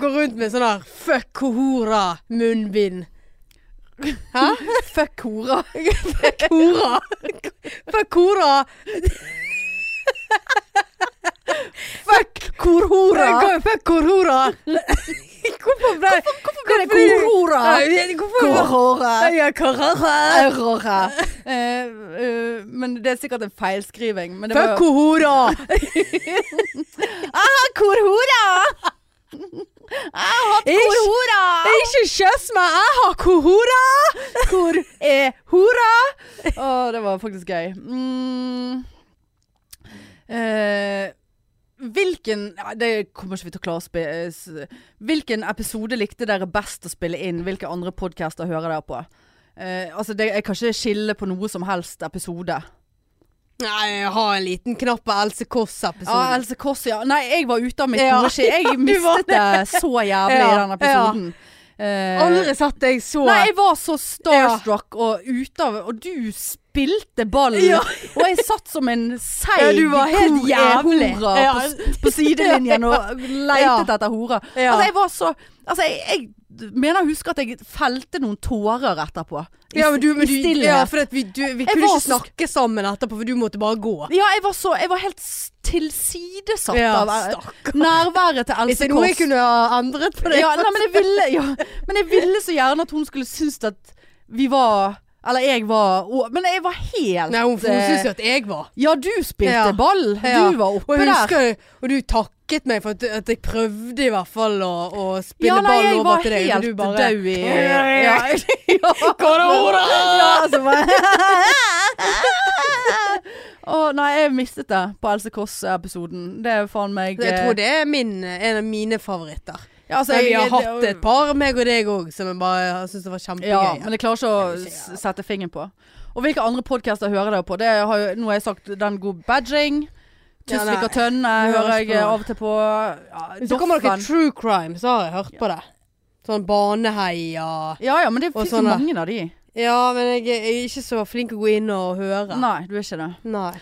Går rundt med sånn der fuck kohora-munnbind. Fuck hora. Kora. Fuck kora. Fuck korhora! Nei, Fuck korhora. Hvorfor ble Hvorfor Hva er det korhora? Nei, Hvorfor Korhora! Nei, ja, korhora. Aurora. Eh, eh, men det er sikkert en feilskriving. Men det Fuck var kohora. Korhora! Ikke Korhora! ikke kjøss meg, jeg har kohora. Kor er hora? Å, det var faktisk gøy. Mm. Eh, hvilken ja, Det kommer ikke vi til å klare å spe... eh, s- Hvilken episode likte dere best å spille inn? Hvilke andre podcaster hører dere på? Eh, altså, det, jeg kan ikke skille på noe som helst episode. Nei, jeg har en liten knapp på Else Ja, Kåss-episoden. Ah, Else Kåss, ja. Nei, jeg var ute av mitt Ja. gode skje. Jeg var mistet det så jævlig i Ja, den episoden. Eh, Aldri sett deg så Nei, jeg var så starstruck og ute av Og du spilte ballen. Ja. og jeg satt som en seig Ja, du var helt kor- eh, jævlig. hora Ja. på, på sidelinjen og Ja. leitet etter horer. Ja. Altså, jeg var så Altså, jeg, jeg mener å huske at jeg felte noen tårer etterpå. I, ja, men du, i men du, stillhet. ja, for at vi, du, vi kunne var ikke så- snakke sammen etterpå, for du måtte bare gå. Ja, jeg var så Jeg var helt s- tilsidesatt Ja, av eh, stakkar. nærværet til Hvis Else det er noe jeg Kåss. kunne ha endret på det Ja, nei, men jeg ville ja, Men jeg ville så gjerne at hun skulle synes at vi var Eller jeg var å, Men jeg var helt Nei, hun, hun eh, syntes jo at jeg var Ja, du spilte Ja. ball. Ja. Du var Og oppe jeg der. husker Og du takket meg for at, at jeg prøvde i hvert fall å, å spille Ja, nei, ball jeg over var til deg. helt men du dau bare, i Ja. Ja, ja, altså, så bare- Å nei, jeg mistet det på Else Kåss-episoden. Det er faen meg Jeg eh, tror det er min, en av mine favoritter. ja, altså, Men vi har jeg- hatt et par, meg og deg òg, som jeg bare syns det var kjempegøy. Ja, men jeg klarer ikke å Jeg vil si, ja. s- sette fingeren på. Og hvilke andre podcaster hører dere på? Det har jo, nå har jeg sagt Den gode badging. Ja, nei. Tusvik og Tønne hører høres jeg på. av og til på. Ja, så kommer dere Doffen. True Crime, så har jeg hørt på det. Sånn Baneheia Ja ja, men det Og finnes jo sånne. mange av de. Ja, men jeg, jeg er ikke så flink å gå inn og høre. Nei, du er ikke det. Nei.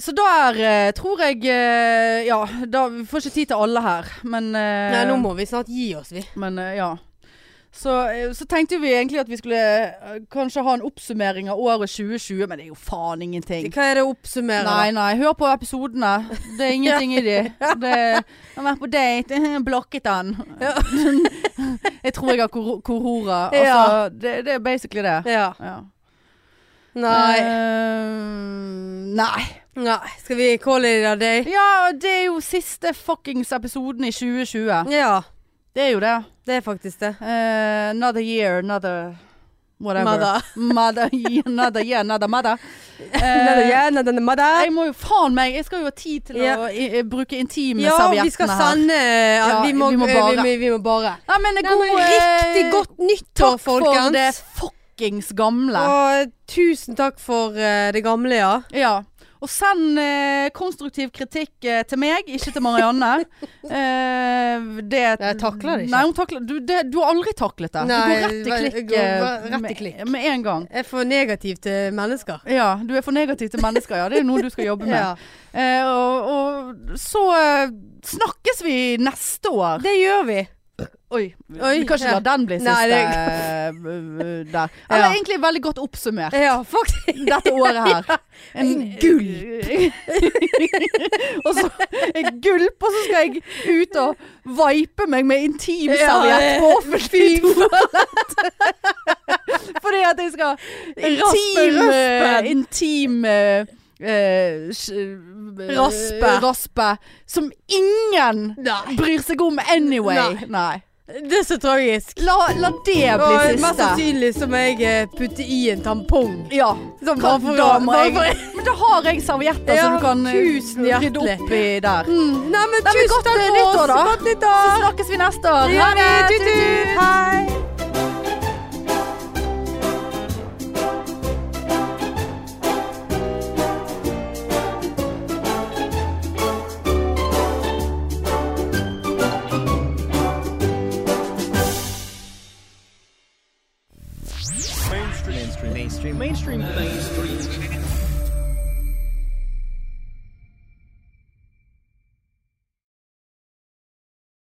Så der eh, tror jeg eh, Ja, da, vi får ikke tid til alle her, men eh, Nei, nå må vi snart gi oss, vi. Men eh, ja. Så, eh, så tenkte vi egentlig at vi skulle eh, kanskje ha en oppsummering av året 2020, men det er jo faen ingenting. Hva er det å oppsummere? da? Nei, nei, hør på episodene. Det er ingenting i de. Det, han har vært på date, blokket han. jeg tror jeg har kor korora. Altså, Ja. det, det er basically det. Ja. Ja. Eh. Nei. Ehm, nei. Nei. Skal vi call it a day? Ja, det er jo siste fuckings episoden i 2020. Ja, Det er jo det. det er faktisk det. Eh, another year, another whatever. Mother. Mother, another year, another mother. Another Eh, year, another mother. jeg må jo faen meg, jeg skal jo ha tid til Ja. å i, i, bruke intime Ja, serviettene her. vi skal sende ja, Ja, vi, må, vi eh, vi, må må bare. vi, vi må bare. Nei, men Nei, god, men eh, riktig godt nyttår, Takk folkens. for det fuckings gamle. Og eh, tusen takk for eh, det gamle, ja. Ja. Og send eh, konstruktiv kritikk eh, til meg, ikke til Marianne. eh, det Jeg takler det ikke. Nei, hun takler, du, det, du har aldri taklet det. Nei, du går rett i hva- klikk, jeg går eh, rett i med- klikk. Med, en gang. Jeg er for negativ til mennesker. Ja, du er for negativ til mennesker, ja. Det er noe du skal jobbe med. Ja. Eh, og, og så eh, snakkes vi neste år. Det gjør vi. Oi, Oi, vi kan ikke ja. la den bli siste Nei, det- eh, der. Eller Ja. egentlig veldig godt oppsummert. Ja, faktisk. dette året her. En gulp. og så en gulp, og så skal jeg ut og vipe meg med Ja, intimserviett på offentlig toalett. Fordi at jeg skal intim raspen. eh, Intim eh, eh, sj- eh, Raspe. raspe. Som ingen Nei. bryr seg om anyway. Nei. Nei. Det er så tragisk. La, la det Og bli mest siste. sannsynlig så må jeg eh, putte i en tampong. Ja. Sånn, Kan, bare for da å- må bare jeg, for- men da har jeg servietter Ja, så du kan eh, tusen rydde hjertelig. opp i der. Nei, men Nei, men tusen godt takk eh, for nyttår, oss. da. Godt nyttår. Så snakkes vi neste år. Ha det. Tut, tut. Hei.